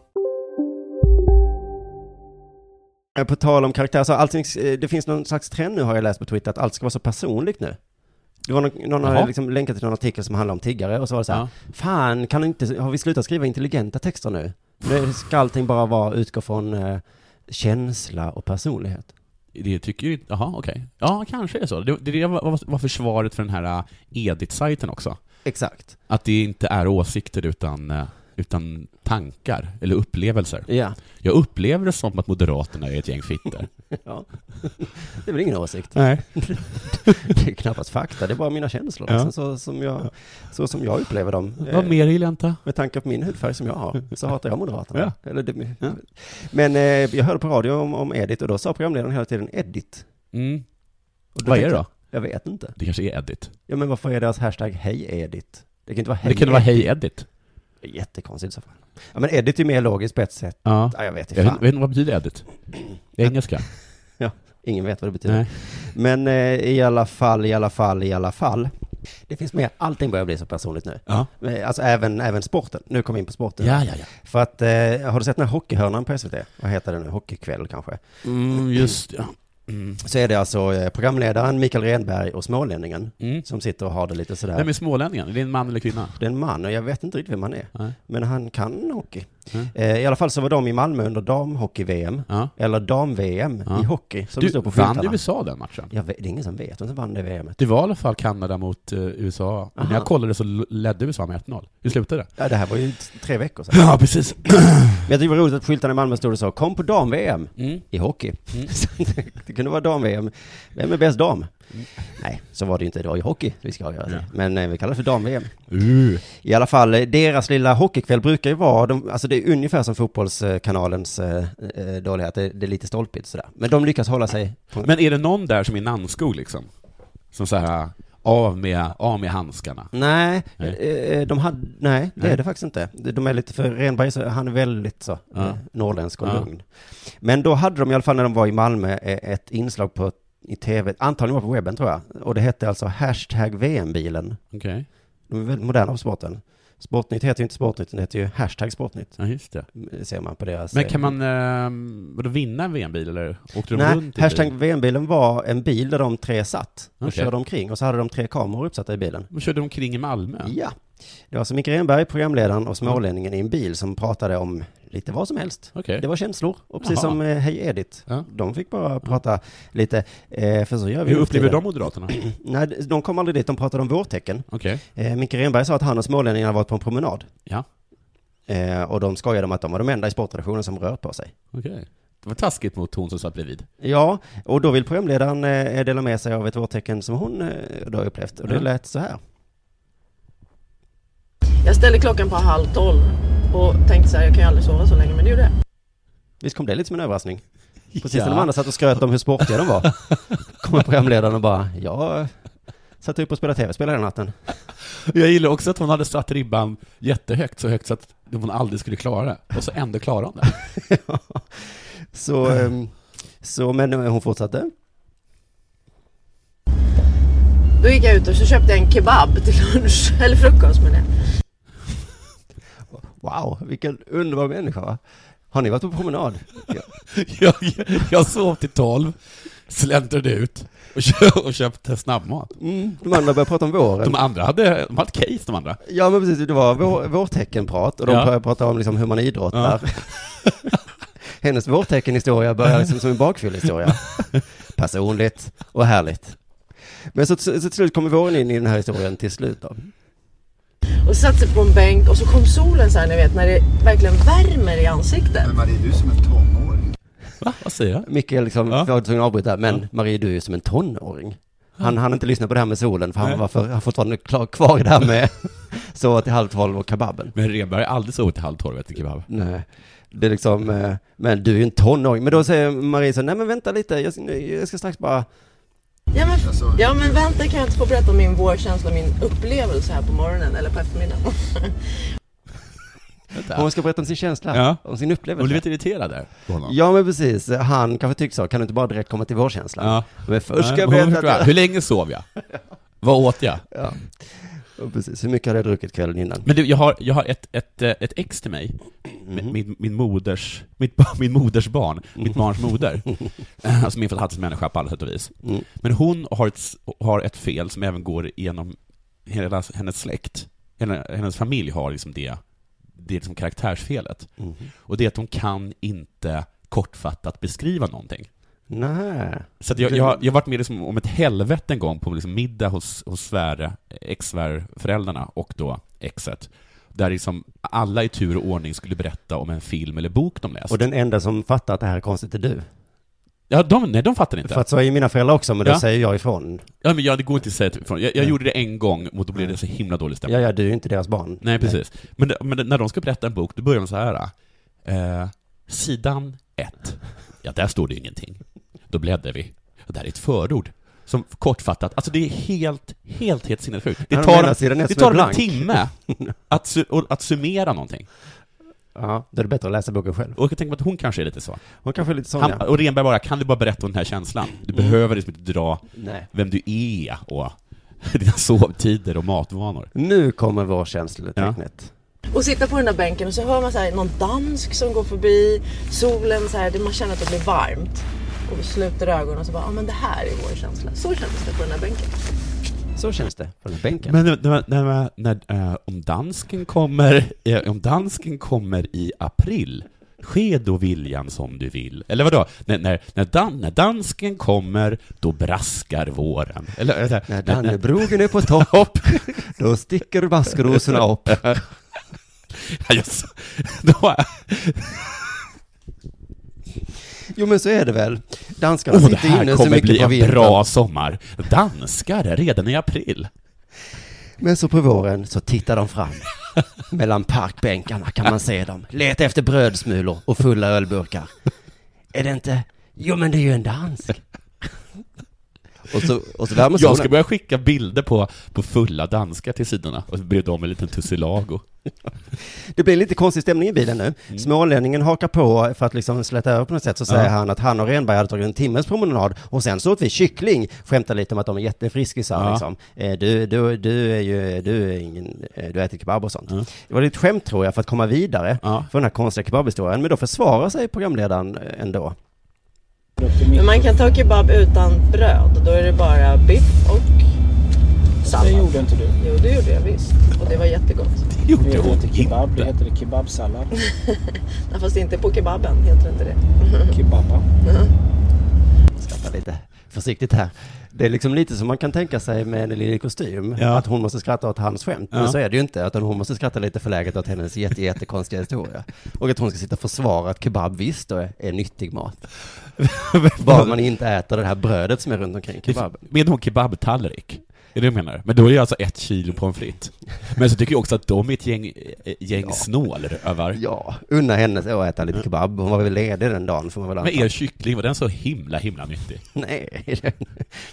C: Eh, på tal om karaktär, så allting, eh, det finns någon slags trend nu har jag läst på Twitter att allt ska vara så personligt nu. Det var någon, någon har
D: Jaha.
C: liksom länkat till någon artikel som handlar om tiggare och så var det så här,
D: Ja.
C: fan kan inte, har vi slutat skriva intelligenta texter nu? Nu ska allting bara vara, utgå från eh, känsla och personlighet.
D: Det tycker ju inte... Jaha, okej. Ja, kanske är det så. Det, det var, var försvaret för den här eh, Edit-sajten också.
C: Exakt.
D: Att det inte är åsikter utan, eh, utan tankar, eller upplevelser.
C: Ja.
D: Jag upplever det som att Moderaterna är ett gäng fittor.
C: ja. Det är väl ingen åsikt.
D: Nej.
C: Det är knappast fakta, det är bara mina känslor.
D: Ja.
C: Liksom, så, som jag, så som jag upplever dem.
D: Vad
C: Eh,
D: mer gillar jag inte?
C: Med tanke på min hudfärg som jag har, så hatar jag Moderaterna.
D: Ja.
C: Eller det,
D: Ja.
C: Men eh, jag hörde på radio om, om Edit och då sa programledaren hela tiden Edit.
D: Mm.
C: Och
D: Vad är
C: tänkte
D: det
C: jag,
D: då?
C: Jag vet inte.
D: Det kanske är Edit.
C: Ja men varför är deras hashtag Hej Edit? Det kan inte vara Hej
D: Det kan vara Hej Edit.
C: Edit. Jättekonstigt så fall. Ja men Edit är ju mer logiskt på ett sätt.
D: Ja.
C: Ja jag vet
D: Jag
C: inte
D: vet, jag
C: fan.
D: vet inte, vad betyder edit? Det är engelska?
C: Ingen vet vad det betyder.
D: Nej.
C: Men eh, i alla fall, i alla fall, i alla fall. Det finns mer, allting börjar bli så personligt nu.
D: Ja.
C: Eh, Alltså även, även sporten. Nu kommer vi in på sporten.
D: Ja, ja, ja.
C: För att, eh, har du sett den här hockeyhörnan på SVT? Vad heter det nu? Hockeykväll kanske?
D: Mm, just ja.
C: så är det alltså eh, programledaren Mikael Renberg och smålänningen som sitter och har det lite sådär.
D: Mm. Vem är smålänningen? Är det en man eller kvinna?
C: Det är en man och jag vet inte riktigt vem han är. Men han kan hockey. Eh, I alla fall så var de i Malmö under damhockey-VM, eller dam-VM i hockey, som
D: du,
C: det står på
D: vann
C: skyltarna.
D: USA den matchen?
C: Jag vet, det är ingen som vet vem som vann det VMet.
D: Det var i alla fall Kanada mot eh, USA. Och När jag
C: Aha.
D: kollade så l- ledde USA med 1-0. Hur slutade det?
C: Ja, det här var ju t- tre veckor sedan.
D: Ja, precis.
C: Men jag tycker det var roligt att skyltarna i Malmö stod och sa kom på dam-VM i hockey. Så det- det kunde vara dam-VM. Vem är bäst dam? Nej, så var det ju inte. Det var ju hockey vi ska göra. det. Men eh, vi kallar det för dam-VM. I alla fall, eh, deras lilla hockeykväll brukar ju vara, de, alltså det är ungefär som fotbollskanalens eh, eh, dålighet, det, det är lite stolpigt sådär. Men de lyckas hålla sig på...
D: Men är det någon där som är Nannskog liksom? Som så här, av med, av med handskarna.
C: Nej,
D: Nej.
C: eh, de hade, nej, det
D: Nej.
C: är det faktiskt inte. De de är lite för, Renberg, så- han är väldigt så,
D: Ja.
C: eh, norrländsk och
D: Ja.
C: lugn. Men då hade de i alla fall när de var i Malmö eh, ett inslag på, i tv, antagligen var på webben tror jag, och det hette alltså hashtag VM-bilen.
D: Okej.
C: De är väldigt moderna på sporten. Sportnytt heter ju inte Sportnytt, utan det heter ju hashtag Sportnytt.
D: Ja, just det.
C: Ser man på deras...
D: Men
C: eh,
D: kan man eh, vadå, vinna en VM-bil eller åkte de
C: Nej,
D: runt i
C: hashtag
D: bil?
C: VM-bilen var en bil där de tre satt och
D: Okej.
C: körde omkring och så hade de tre kameror uppsatta i bilen.
D: De körde omkring i Malmö?
C: Ja. Det var alltså Micke Renberg, programledaren och smålänningen i en bil som pratade om lite vad som helst.
D: Okej.
C: Det var känslor. Och precis
D: Jaha.
C: som eh, Hej Edith. De fick bara prata lite. eh, För så gör vi
D: Hur
C: nu för
D: upplever
C: tiden.
D: de Moderaterna?
C: Nej, de kom aldrig dit. De pratade om vårtecken.
D: Okej.
C: Eh, Micke Renberg sa att han och smålänningarna varit på en promenad.
D: Ja.
C: Eh, Och de skojade om att de var de enda i sportredaktionen som rört på sig.
D: Okej. Det var taskigt mot hon som satt bredvid.
C: Ja, och då vill programledaren eh, dela med sig av ett vårtecken som hon eh, då upplevt. Och det
D: Ja.
C: lät så här.
I: Jag ställde klockan på halv tolv och tänkte så här, jag kan ju aldrig sova så länge, men det gjorde jag.
C: Visst kom det lite som en överraskning? Precis när
D: Ja.
C: de andra satt och skröt om hur sportiga de var, kommer programledaren och bara, jag satt upp och spelade tv-spel hela natten.
D: Jag gillar också att hon hade satt ribban jättehögt, så högt så att hon aldrig skulle klara det. Och så ändå klarade hon det.
C: Så, ehm, så men eh, hon fortsatte.
I: Då gick jag ut och så köpte jag en kebab till lunch, eller frukost menar jag.
C: Wow, vilken underbar människa va? Har ni varit på promenad? Ja.
D: Jag, jag sov till tolv, släntrade ut och, kö- och köpte snabbmat.
C: De andra började prata om våren.
D: De andra hade, de hade ett case de andra.
C: Ja men precis, det var vår, vårteckenprat och de
D: Ja.
C: började prata om liksom hur man idrottar. Hennes vårteckenhistoria börjar liksom som en bakfyllehistoria. Personligt och härligt. Men så, så, så till slut kommer våren in i den här historien till slut då.
I: Och satte sig på en bänk och så kom solen så här, ni vet, när det verkligen värmer i ansiktet. Men Marie, du som en tonåring.
D: Va? Vad säger jag?
C: Micke liksom, ja. var tvungen att avbryta, men Marie du är ju som en tonåring. Han hann inte lyssna på det här med solen, för
D: Nej.
C: han var för, han fortfarande klar, kvar i det här med sova till halv tolv och kebaben.
D: Men Renberg har aldrig sovit till halv tolv efter kebab.
C: Nej, det är liksom, eh, men du är ju en tonåring. Men då säger Marie så, nej men vänta lite, jag, jag ska strax bara,
I: Ja men, ja men vänta, kan jag inte få berätta om min vårkänsla, min upplevelse här på morgonen eller på eftermiddagen?
C: hon ska berätta om sin känsla,
D: Ja.
C: om sin upplevelse.
D: Hon blev lite irriterad där på honom.
C: Ja men precis, han kanske tyckte så, kan du inte bara direkt komma till vår känsla?
D: Ja.
C: Men först ska
D: Nej,
C: jag
D: men hon
C: berätta
D: förstår.
C: att
D: Hur länge sov jag? Vad åt jag?
C: Ja. Och Precis, hur mycket hade jag druckit kvällen innan?
D: Men du, jag har, jag har ett, ett, eh, ett ex till mig,
C: Mm-hmm.
D: min, min, min, moders, mitt, ba- min moders barn, mitt barns moder, Eh, som är en fantastisk människa på alla sätt och vis.
C: Mm.
D: Men hon har ett, s- har ett fel som även går igenom hela hennes släkt. Hela, hennes familj har liksom det, det är liksom karaktärsfelet.
C: Mm-hmm.
D: Och det är att hon kan inte kortfattat beskriva någonting.
C: Nej.
D: Så att jag, jag, jag har varit med liksom om ett helvete en gång på liksom middag hos, hos svär, ex-svärföräldrarna och då exet. Där liksom alla i tur och ordning skulle berätta om en film eller bok de läst.
C: Och den enda som fattar att det här är konstigt är du.
D: Ja, de, nej, de fattar inte.
C: För att så är mina föräldrar också, men då
D: Ja.
C: säger jag ifrån.
D: Ja, men jag, det går inte att säga till- ifrån. Jag, jag gjorde det en gång och då blev det så himla dålig stämning.
C: Ja, ja, du är ju inte deras barn.
D: Nej, precis. Men, det- men det- när de ska berätta en bok, då börjar de så här. Eh, sidan 1. Ja, där står det ju ingenting. Då bläddrar vi. Och där är ett förord. Som kortfattat, alltså det är helt, helt, helt sinnessjukt. Det
C: Ja, de
D: tar,
C: menar sidan ett
D: det
C: som är
D: tar dem en
C: blank.
D: timme att, su- och- att summera någonting.
C: Ja, då är det bättre att läsa boken själv.
D: Och jag tänker mig att hon kanske är lite så.
C: Hon kanske är lite sån,
D: Han,
C: ja.
D: och Renberg bara, kan du bara berätta om den här känslan? Du behöver liksom inte dra
C: Nej.
D: vem du är och dina sovtider och matvanor.
C: Nu kommer vår känslotecknet.
I: Och sitta på den där bänken och så hör man så här, någon dansk som går förbi, solen så här, det- man känner att det blir varmt. Och vi sluter ögonen och så bara, ja ah, men det här är vår känsla. Så kändes det på den här bänken.
C: Så känns det på den här bänken.
D: Men när, när, när, när, eh, om, dansken kommer, eh, om dansken kommer i april, ske då viljan som du vill. Eller vadå? När, när, när, dan, när dansken kommer, då braskar våren. Eller, eh,
C: När Dannebrogen är på topp, då sticker maskrosorna upp.
D: Ja, just. Då är-
C: Jo men så är det väl. Danskarna
D: Åh, det
C: sitter
D: här
C: inne så
D: kommer
C: mycket
D: bli
C: på
D: en
C: vintern.
D: bra sommar. Danskar redan i april.
C: Men så på våren så tittar de fram. Mellan parkbänkarna kan man se dem. Leta efter brödsmulor och fulla ölburkar. Är det inte? Jo men det är ju en dansk. Och så, och så värmer solen.
D: Jag ska börja skicka bilder på, på fulla danskar till sidorna och bjuda dem en liten tussilago.
C: Det blir lite konstig stämning i bilen nu. Smålänningen hakar på för att liksom släta över på något sätt. Så säger
D: Mm. Ja.
C: han att han och Renberg hade tagit en timmes promenad och sen så åt vi kyckling. Skämtar lite om att de är jättefriskisar
D: Ja.
C: liksom. Eh, Du, du, du är ju, du är ingen, eh, du äter kebab och sånt. Det var lite skämt tror jag för att komma vidare för den här konstiga kebabhistorien. Men då försvarar sig programledaren eh, ändå.
I: Men man kan ta kebab utan bröd. Då är det bara biff och sallad. Det gjorde inte du. Jo, det gjorde jag visst. Och det var jättegott.
J: Det heter kebab, det heter kebabsallad.
I: Nej, Fast inte på kebaben, heter inte det.
J: Kebaba.
C: skrattar lite försiktigt här. Det är liksom lite som man kan tänka sig med en lille kostym,
D: Ja.
C: att hon måste skratta åt hans skämt.
D: Ja.
C: Men så är det ju inte, utan hon måste skratta lite förläget åt hennes jätte, jättekonstiga historia. Och att hon ska sitta och försvara att kebab visst då är nyttig mat. Bara man inte äter det här brödet som är runt omkring kebaben.
D: Med hon kebabtallrik? Är det du menar? Men då är det alltså ett kilo pommes frites. Men så tycker jag också att de är ett gäng, eh, gäng snålrövar.
C: Ja, unna henne att äta lite kebab. Hon var väl ledig den dagen får man väl
D: Men er kyckling, var den så himla, himla nyttig?
C: Nej,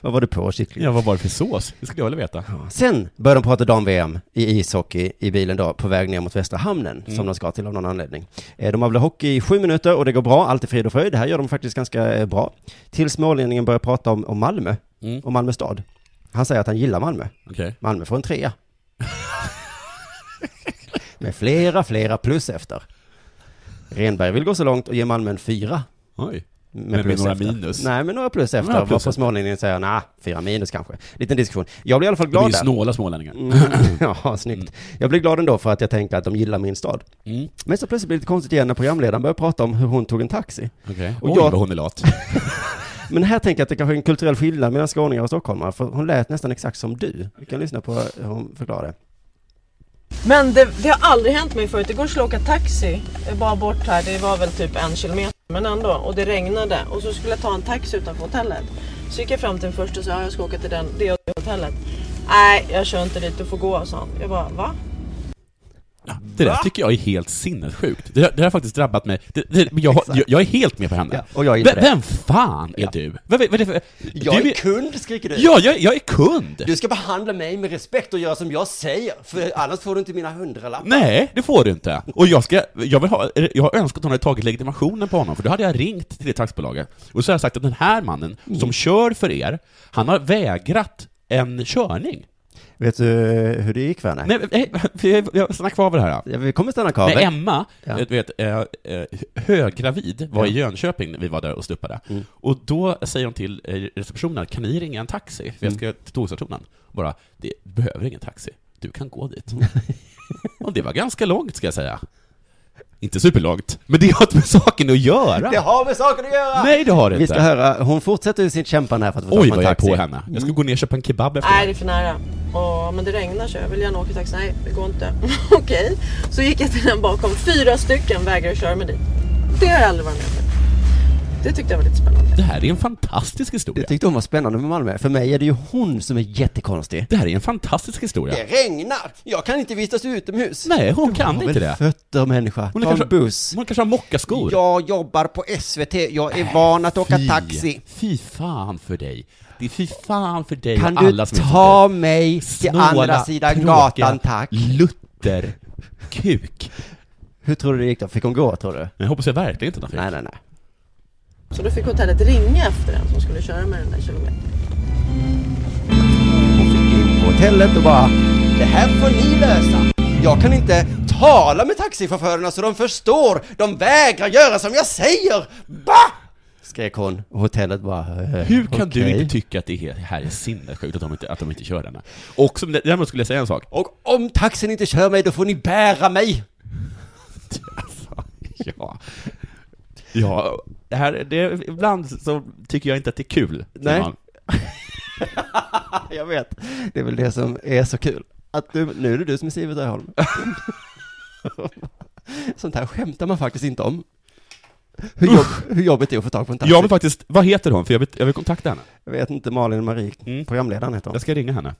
C: vad var det på kyckling?
D: Ja, vad var det för sås? Det skulle jag vilja veta.
C: Sen börjar de prata dam-VM i ishockey i bilen då, på väg ner mot Västra Hamnen,
D: Mm.
C: som de ska till av någon anledning. Eh, De har väl hockey i sju minuter och det går bra, allt är frid och fröjd. Det här gör de faktiskt ganska eh, bra. Till smålänningen börjar prata om, om Malmö,
D: Mm.
C: och Malmö stad. Han säger att han gillar Malmö.
D: Okej.
C: Malmö får en trea. Med flera, flera plus efter. Renberg vill gå så långt och ge Malmö en fyra.
D: Oj.
C: Med
D: Men med
C: plus
D: några
C: efter.
D: minus.
C: Nej, men några plus efter.
D: Några plus
C: Varpå
D: efter.
C: smålänningen säger, nej, fyra minus kanske. Liten diskussion. Jag blir i alla fall
D: De är
C: glad
D: ju
C: där.
D: snåla smålänningar.
C: Mm, ja, snyggt. Jag blev glad ändå för att jag tänkte att de gillar min stad.
D: Mm.
C: Men så plötsligt blir det lite konstigt igen när programledaren börjar prata om hur hon tog en taxi.
D: Okej.
C: Och
D: Oj,
C: jag-
D: vad hon är lat.
C: Men här tänker jag att det kanske är en kulturell skillnad mellan skåningar och stockholmare, för hon lät nästan exakt som du. Vi kan lyssna på hur hon förklarar det.
I: Men det, det har aldrig hänt mig förut. Igår skulle jag åka taxi eh, bara bort här. Det var väl typ en kilometer. Men ändå. Och det regnade. Och så skulle jag ta en taxi utanför hotellet. Så gick jag fram till den första och sa "Ja, jag ska åka till den, det och det hotellet. Nej, jag kör inte dit. Du får gå, sa han. Jag bara, va?
D: Det där tycker jag är helt sinnessjukt. Det, där- det där har faktiskt drabbat mig. Det, det, men jag, har- jag, jag är helt med på henne.
C: och jag är
D: vem,
C: inte det.
D: vem fan är du? Vad, vad är det för...
C: Jag
D: du
C: är kund, skriker du.
D: Ja, jag, jag är kund!
C: Du ska behandla mig med respekt och göra som jag säger, för annars får du inte mina hundralappar.
D: Nej, det får du inte. Och jag ska, jag vill ha, jag har önskat att hon hade tagit legitimationen på honom, för då hade jag ringt till det taxibolaget. Och så har jag sagt att den här mannen, som kör för er, han har vägrat en körning.
C: Vet du hur det gick, Werner?
D: Nej, eh, nej, vi- jag stannar kvar vid det här.
C: vi kommer stanna kvar
D: När
C: vid-
D: Emma,
C: Ja.
D: du vet, eh, eh, höggravid, var i Jönköping när vi var där och stuppade.
C: Mm.
D: Och då säger hon till eh, receptionen, kan ni ringa en taxi? För jag
C: Mm.
D: ska till Tågstationen. Bara, det behöver ingen taxi. Du kan gå dit.
C: Mm.
D: och det var ganska långt, ska jag säga. Inte superlångt, men det har inte med saken att göra.
C: Det har med saker att göra!
D: Nej, det har det
C: Vi
D: inte.
C: ska höra, hon fortsätter sitt kämpande här för att få
D: Oj,
C: tag på
D: vad
C: en
D: jag är
C: taxi. Mm. Ah.
D: på henne. Jag ska gå ner och köpa en kebab efter
I: Nej, det är för nära. Och, men det regnar så jag vill gärna åka taxi. Nej, det går inte. Okej. Så gick jag till den bakom. Fyra stycken vägrade köra mig dit. Det har jag aldrig varit med om. Det tyckte jag var lite spännande.
D: Det här är en fantastisk historia.
C: Jag tyckte hon var spännande med Malmö. För mig är det ju hon som är jättekonstig.
D: Det här är en fantastisk historia.
C: Det regnar! Jag kan inte vistas utomhus!
D: Nej, hon
C: Jag
D: kan
C: har
D: inte
C: väl
D: det.
C: fötter människa.
D: Hon
C: Ta en
D: kanske-
C: buss. Äh,
D: Hon kanske har mockaskor.
C: Jag jobbar på SVT, jag är van att åka
D: Fy.
C: taxi.
D: Fy fan för dig. Det är fy fan för dig
C: Kan
D: och alla
C: du
D: som är
C: ta mig till
D: Snåla,
C: andra sidan
D: tråkiga
C: gatan, tack?
D: Lutter. Kuk.
C: Hur tror du det gick då? Fick hon gå, tror du?
D: Jag hoppas jag verkligen inte att han
C: Nej, nej, nej.
I: Så då fick hotellet ringa efter den som skulle köra mig den där kilometern.
C: På hotellet och bara, det här får ni lösa. Jag kan inte tala med taxichaufförerna så de förstår. De vägrar göra som jag säger. Bah! Skrek hon och hotellet bara eh,
D: Hur kan du
C: okej.
D: inte tycka att det här är sinnessjukt att de inte, att de inte kör denna? Och som, däremot skulle jag säga en sak.
C: Och om taxin inte kör mig då får ni bära mig!
D: Ja. Ja, det här, det, ibland så tycker jag inte att det är kul.
C: Nej.
D: Simon.
C: Jag vet. Det är väl det som är så kul. Att du, nu är det du som är Sivert Öholm. Sånt här skämtar man faktiskt inte om. Hur, jobb, hur jobbigt det är att få tag på en taxi.
D: Jag vill faktiskt, vad heter hon? För jag vill, jag vill kontakta henne.
C: Jag vet inte, Malin Marie, programledaren heter
D: Mm.
C: hon. Mm.
D: Jag ska ringa henne.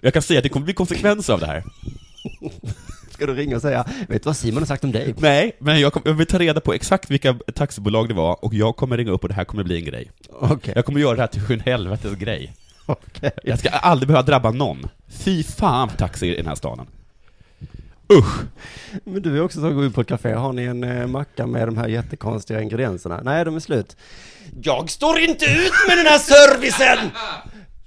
D: Jag kan säga att det kommer bli konsekvenser av det här.
C: Ska du ringa och säga, vet du vad Simon har sagt om dig?
D: Nej, men jag, kom, jag vill ta reda på exakt vilka taxibolag det var och jag kommer ringa upp och det här kommer bli en grej.
C: Okej.
D: Jag kommer göra det här till en helvetes grej. Jag ska aldrig behöva drabba någon. Fy fan för taxi i den här staden. Usch!
C: Men du är också som går ut på ett café, har ni en eh, macka med de här jättekonstiga ingredienserna? Nej, de är slut. Jag står inte ut med den här servicen!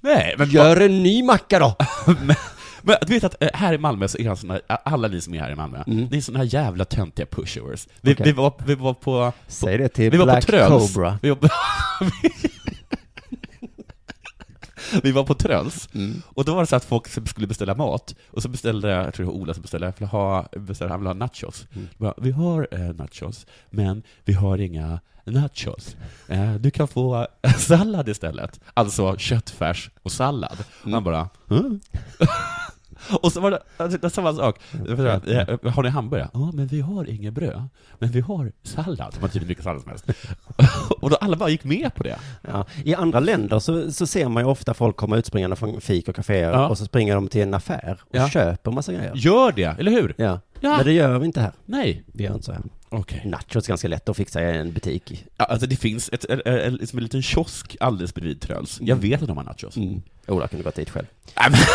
D: Nej, men
C: Gör en ny macka då!
D: men, men du vet att eh, här i Malmö så är han såna, alla ni som är här i Malmö, ni är såna här jävla töntiga pushovers. Vi,
C: Mm. Okej.
D: vi, var, vi var på...
C: Säg det till
D: vi var
C: Black
D: på Tröls.
C: Cobra.
D: Vi var på, vi var på Tröls,
C: Mm.
D: och då var det så att folk som skulle beställa mat, och så beställde, jag tror det var Ola som beställde, jag ville ha, beställde han ville ha nachos.
C: Mm.
D: Bara, vi har eh, nachos, men vi har inga nachos. Eh, du kan få sallad istället. Alltså köttfärs och sallad. Och han bara, "Mm." Och så var det, alltså, det var samma sak. Jag förstår att, eh, Har ni hamburgare? Ja, men vi har inget bröd. Men vi har sallad. De har tydligen mycket sallad som helst. Och då alla bara gick med på det.
C: Ja, I andra länder så, så ser man ju ofta folk komma utspringande från fik och kaféer
D: Ja.
C: och så springer de till en affär och
D: Ja.
C: köper massa grejer.
D: Gör det, eller hur?
C: Ja.
D: Ja. Mm.
C: men det gör vi inte här.
D: Nej.
C: Vi gör inte så här.
D: Okej.
C: Nachos är ganska lätt att fixa i en butik.
D: Ja, alltså det finns ett, ett, ett, ett, liksom en liten kiosk alldeles bredvid Tröls. Jag vet att de har nachos.
C: Mm. Ola kunde gått dit själv.
D: Nej, men-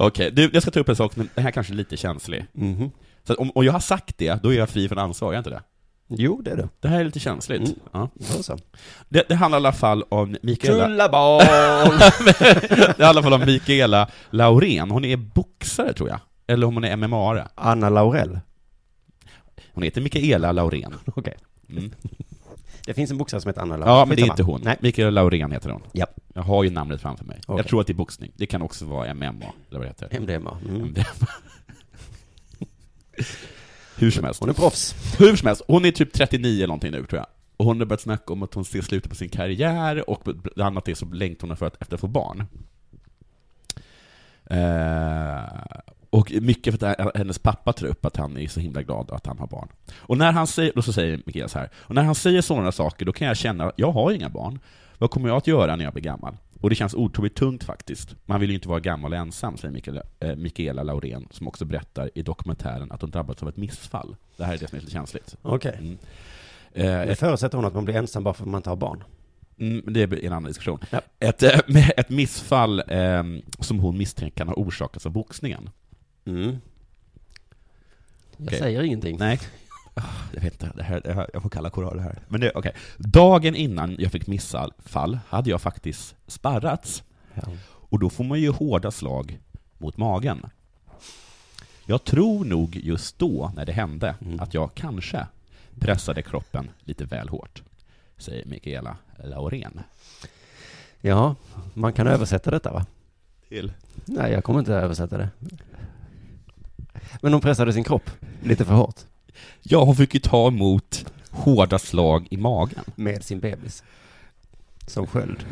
D: Okej, du, jag ska ta upp en sak, men den här kanske är lite känslig.
C: Mhm.
D: Så att om, om jag har sagt det, då är jag fri från ansvar, är jag inte det?
C: Jo, det är det.
D: Det här är lite känsligt. Ja.
C: Då så.
D: Det, det handlar i alla fall om Mikaela...
C: Kullaboll!
D: det är i alla fall om Mikaela Laurén. Hon är boxare, tror jag. Eller om hon är MMA-are.
C: Anna Laurell.
D: Hon heter Mikaela Laurén.
C: Okej.
D: Mm.
C: Det finns en boxare som heter Anna Laurell.
D: Ja, men det är
C: Skitsamma.
D: inte hon.
C: Nej.
D: Mikaela Laurén heter hon.
C: Ja.
D: Jag har ju namnet framför mig.
C: Okej.
D: Jag tror att det är boxning. Det kan också vara MMA, eller vad det heter.
C: MDMA. Mm.
D: MDMA. Hur som helst.
C: Hon är proffs.
D: Hur som helst, hon är typ 39 eller någonting nu tror jag. Och hon har börjat snacka om att hon ser slutet på sin karriär och bland annat är så längtar hon för att efter att få barn. Eh, och mycket för att hennes pappa tror upp att han är så himla glad att han har barn. Och när han säger, då så säger Mikael så här, och när han säger sådana saker då kan jag känna, jag har inga barn, vad kommer jag att göra när jag blir gammal? Och det känns otroligt tungt faktiskt. Man vill ju inte vara gammal och ensam, säger Mikaela, eh, Mikaela Laurén, som också berättar i dokumentären att hon drabbats av ett missfall. Det här är det som är lite känsligt.
C: Okej.
D: Mm. Eh,
C: Det förutsätter hon att man blir ensam bara för att man inte har barn.
D: Mm, men det är en annan diskussion.
C: Ja.
D: Ett, eh, med ett missfall eh, som hon misstänker kan ha orsakats av boxningen.
C: Mm. Jag
D: Okej.
C: säger ingenting.
D: Nej. Ah, Jag vet inte, det här, det här, jag får kalla kårar det här. Men det, okej. Dagen innan jag fick missfall hade jag faktiskt sparrats. Och då får man ju hårda slag mot magen. Jag tror nog just då, när det hände, att jag kanske pressade kroppen lite väl hårt. Säger Mikaela Laurén.
C: Ja, man kan översätta detta va?
D: Till?
C: Nej, jag kommer inte översätta det. Men hon pressade sin kropp lite för hårt.
D: Ja, hon fick ju ta emot hårda slag i magen.
C: Med sin bebis. Som sköld.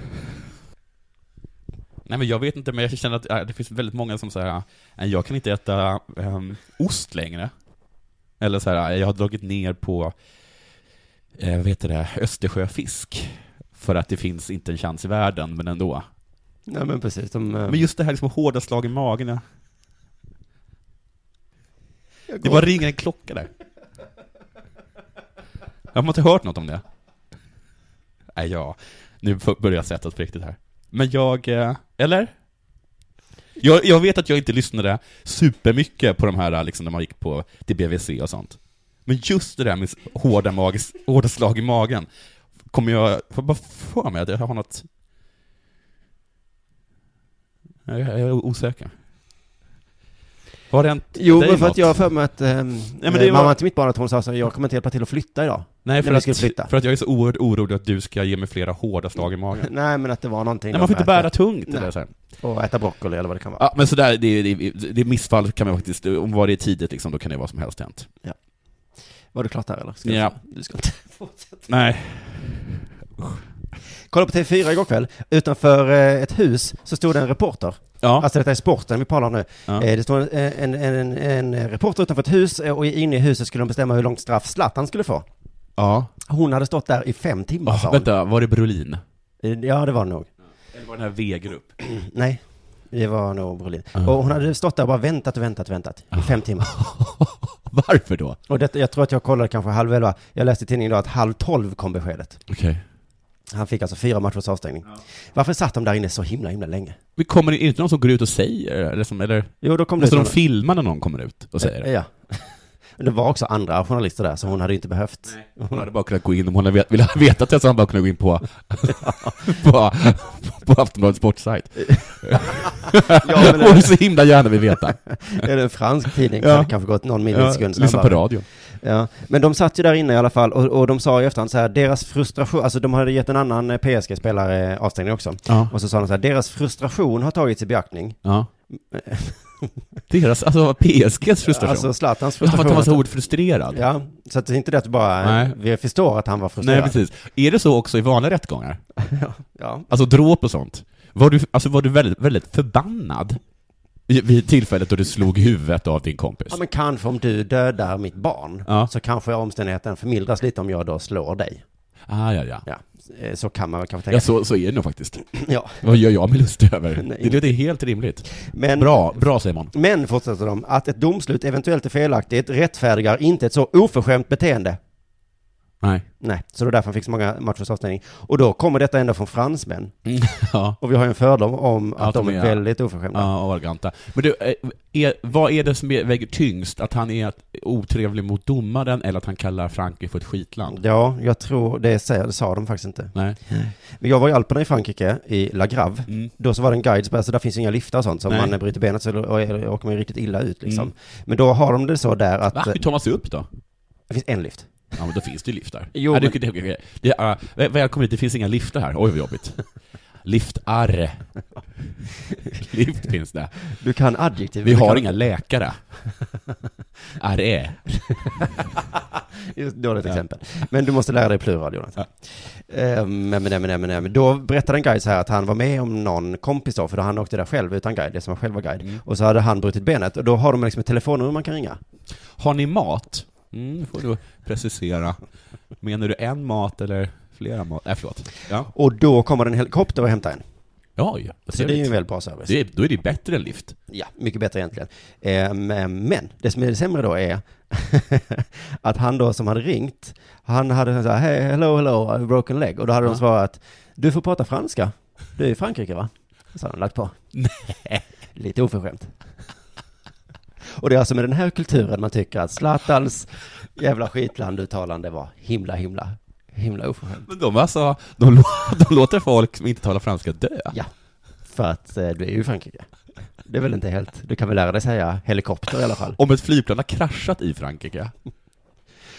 D: Nej men jag vet inte, men jag känner att äh, det finns väldigt många som säger äh, jag kan inte äta ehm, ost längre. Eller så här, äh, jag har dragit ner på, äh, vad heter det, Östersjöfisk. För att det finns inte en chans i världen, men ändå.
C: Nej men precis, de, eh,
D: Men just det här liksom hårda slag i magen, ja. det bara ringer en klocka där. Jag har inte hört något om det. Nej, ja. Nu f- börjar jag svettas på riktigt här. Men jag, eh, eller? Jag, jag vet att jag inte lyssnade supermycket på de här, liksom, när man gick på till BVC och sånt. Men just det där med hårda, magis, hårda slag i magen, kommer jag, jag bara för mig att jag har något... Jag, jag är osäker. Vad Har det hänt
C: Jo,
D: dig
C: men för
D: något?
C: att jag har för mig att ehm,
D: men det
C: mamma
D: var-
C: till mitt barn att hon sa så här, jag kommer inte hjälpa till att flytta idag.
D: Nej, för
C: När vi
D: att,
C: skulle flytta.
D: för att jag är så oerhört orolig att du ska ge mig flera hårda slag i magen.
C: Nej, men att det var någonting.
D: Nej, man får
C: om
D: inte
C: att
D: bära tungt
C: Nej.
D: eller så här.
C: Och äta broccoli eller vad det kan vara.
D: Ja, men sådär, det, det, det missfall kan man faktiskt, om vad det är tidigt liksom, då kan det vara som helst hänt.
C: Ja. Var du klar där eller? Ska
D: Ja.
C: Du ska inte fortsätta.
D: Nej.
C: Kolla på TV4 igår kväll. Utanför eh, ett hus så stod det en reporter.
D: Ja.
C: Alltså detta är sporten vi talar om nu.
D: Ja.
C: Eh, Det stod en, en, en, en reporter utanför ett hus eh, och inne i huset skulle de bestämma hur långt straff Zlatan skulle få.
D: Ja.
C: Hon hade stått där i fem timmar
D: Ah,
C: sa hon.
D: vänta, var det Brolin?
C: Eh, Ja, det var det nog.
D: Eller var det den här V-grupp?
C: Nej, det var nog Brolin. Och hon hade stått där och bara väntat och väntat och väntat i fem timmar.
D: Varför då?
C: Och det, jag tror att jag kollade kanske halv elva. Jag läste i tidningen idag att halv tolv kom beskedet.
D: Okej.
C: Han fick alltså fyra matchers avstängning. Varför satt de där inne så himla, himla länge?
D: Vi kommer det inte någon som går ut och säger eller som, eller?
C: Jo, då kom det
D: Måste
C: ut
D: de
C: någon.
D: filma när någon kommer ut och säger det?
C: Ja. Det var också andra journalister där, så hon hade ju inte behövt.
D: Hon hade bara kunnat gå in, om hon hade vet- velat veta det så hade hon bara kunnat gå in på, på, på Aftonbladets sportsajt.
C: Ja, men-
D: hon så himla gärna vill veta.
C: Är det en fransk tidning så
D: Ja.
C: hade det kanske gått någon millisekund
D: Ja, lyssna på
C: snabbare.
D: radio.
C: Ja, men de satt ju där inne i alla fall och, och de sa i efterhand så här, deras frustration, alltså de hade gett en annan eh, PSG-spelare avstängning också.
D: Ja.
C: Och så sa de så här, deras frustration har tagits i beaktning.
D: Ja. Deras, alltså PSGs frustration.
C: Alltså Zlatans
D: Ja, för
C: frustration.
D: att han var så oerhört frustrerad.
C: Ja, så att det är inte det att bara,
D: Nej.
C: vi förstår att han var frustrerad.
D: Nej, precis. Är det så också i vanliga rättegångar?
C: Ja.
D: Alltså dråp och sånt. Var du, alltså, var du väldigt, väldigt förbannad i- vid tillfället då du slog huvudet av din kompis?
C: Ja, men kanske om du dödar mitt barn, så kanske omständigheten förmildras lite om jag då slår dig.
D: Ah, ja, ja.
C: Ja, eh, så kan man väl kanske tänka.
D: Ja, så, så är det nog faktiskt.
C: Ja.
D: Vad gör jag mig lustig över?
C: Nej,
D: det låter helt rimligt.
C: Men-
D: bra, bra Simon.
C: Men, fortsätter de, att ett domslut eventuellt är felaktigt rättfärdigar inte ett så oförskämt beteende.
D: Nej.
C: Nej, så det var därför han fick så många matchers avstängning. Och då kommer detta ändå från fransmän.
D: Mm. Ja.
C: Och vi har ju en fördom om att de är väldigt oförskämda.
D: Ja, och arroganta. Men du, eh, är, vad är det som är- väger tyngst? Att han är otrevlig mot domaren eller att han kallar Frankrike för ett skitland?
C: Ja, jag tror det, säger, det sa de faktiskt inte.
D: Nej.
C: Men jag var i Alperna i Frankrike, i La Grave. Då så var det en guide, som bara, så där finns ju inga liftar och sånt. Så om
D: Mm. Nej.
C: man bryter benet så å- å- åker man ju riktigt illa ut liksom.
D: Mm.
C: Men då har de det så där att...
D: Va? Hur tar man sig upp då?
C: Det finns en lift.
D: Ja, men då finns det ju liftar.
C: Jo,
D: ja, det,
C: men-
D: det, det, det, ja, väl- välkommen hit, det finns inga liftar här. Oj, vad jobbigt. Liftarre. Lift finns det.
C: Du kan adjektiv.
D: Vi
C: Du
D: har
C: kan-
D: inga läkare. Arre.
C: Just dåligt
D: Ja.
C: exempel. Men du måste lära dig plural, Jonathan. Ehm, Men, men, men, men, men. Då berättade en guide så här att han var med om någon kompis då, för då han åkte där själv utan guide, det som han själv var guide.
D: Mm.
C: Och så hade han brutit benet, och då har de liksom ett telefonnummer man kan ringa.
D: Har ni mat? Mm, får du precisera. Menar du en mat eller flera mat? Nej, förlåt. Ja.
C: Och då kommer det en helikopter och hämtar en.
D: Oj, vad
C: Så det är ju
D: trevligt.
C: en väldigt bra service.
D: Det är, då är det bättre än lift.
C: Ja, mycket bättre egentligen. Ehm, ehm, Men det som är sämre då är att han då som hade ringt, han hade så här, hey, hello, hello, I have a broken leg. Och då hade de
D: Ja.
C: svarat, du får prata franska. Du är i Frankrike va? Så hade de lagt på. Lite oförskämt. Och det är alltså med den här kulturen man tycker att Zlatans jävla skitlanduttalande var himla, himla, himla oförskämt.
D: Men de alltså, de, lå- de låter folk som inte talar franska dö.
C: Ja, för att eh, du är ju i Frankrike. Det är väl inte helt, du kan väl lära dig säga helikopter i alla fall.
D: Om ett flygplan har kraschat i Frankrike,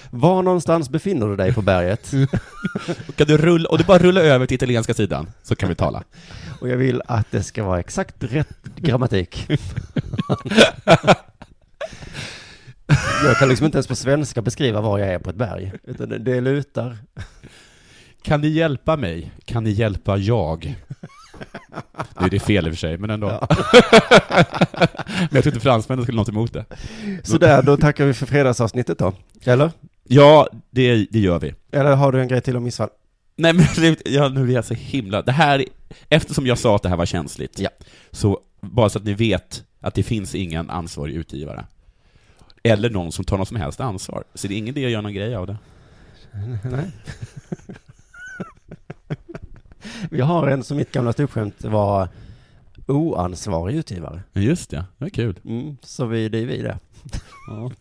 C: Var någonstans befinner du dig på berget?
D: då kan du rulla, och du bara rulla över till italienska sidan, så kan vi tala.
C: Och jag vill att det ska vara exakt rätt grammatik. Jag kan liksom inte ens på svenska beskriva var jag är på ett berg. Utan det- det lutar.
D: Kan ni hjälpa mig? Kan ni hjälpa jag? Nu är det fel i och för sig, men ändå. men jag tror inte fransmännen skulle ha något emot det.
C: Sådär, då tackar vi för fredagsavsnittet då. Eller?
D: Ja, det, det gör vi.
C: Eller har du en grej till om missfall?
D: Nej men det- ja, nu är jag så himla... Det här, eftersom jag sa att det här var känsligt, så bara så att ni vet att det finns ingen ansvarig utgivare. Eller någon som tar något som helst ansvar. Så det är ingen idé att göra någon grej av det.
C: Nej. Vi har en som mitt gamla ståuppskämt var oansvarig utgivare.
D: Men just det, det är kul.
C: Mm, så vi, det är vi det.
D: Ja.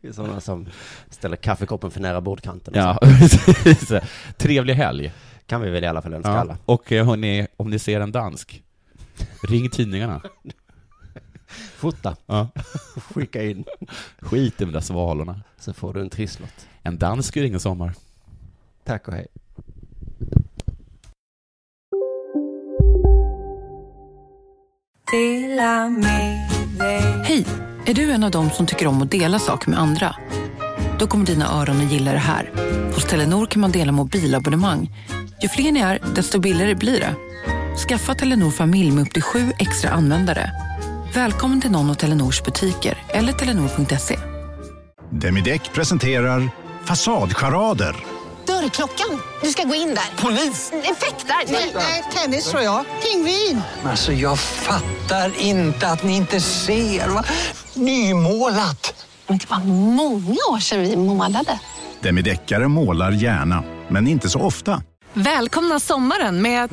C: Vi är sådana som ställer kaffekoppen för nära bordkanten. och
D: Ja,
C: så.
D: precis. Trevlig helg.
C: Kan vi väl i alla fall önska alla.
D: Och eh, hörni, om ni ser en dansk, ring tidningarna.
C: fota. Skicka in.
D: Skit i de där svalorna.
C: Så får du en trisslott.
D: En dansk ingen sommar.
C: Tack och hej.
K: Hej! Är du en av dem som tycker om att dela saker med andra? Då kommer dina öron att gilla det här. Hos Telenor kan man dela mobilabonnemang. Ju fler ni är, desto billigare blir det. Skaffa Telenor familj med upp till sju extra användare. Välkommen till någon av Telenors butiker eller telenor.se.
A: Demideck presenterar Fasadcharader.
F: Dörrklockan. Du ska gå in där. Polis? Effektar? Nej, nej, tennis tror jag. Pingvin.
L: Alltså jag fattar inte att ni inte ser. Va? Nymålat.
F: Men det var många år sedan vi målade.
A: Demideckare målar gärna, men inte så ofta.
K: Välkomna sommaren med att...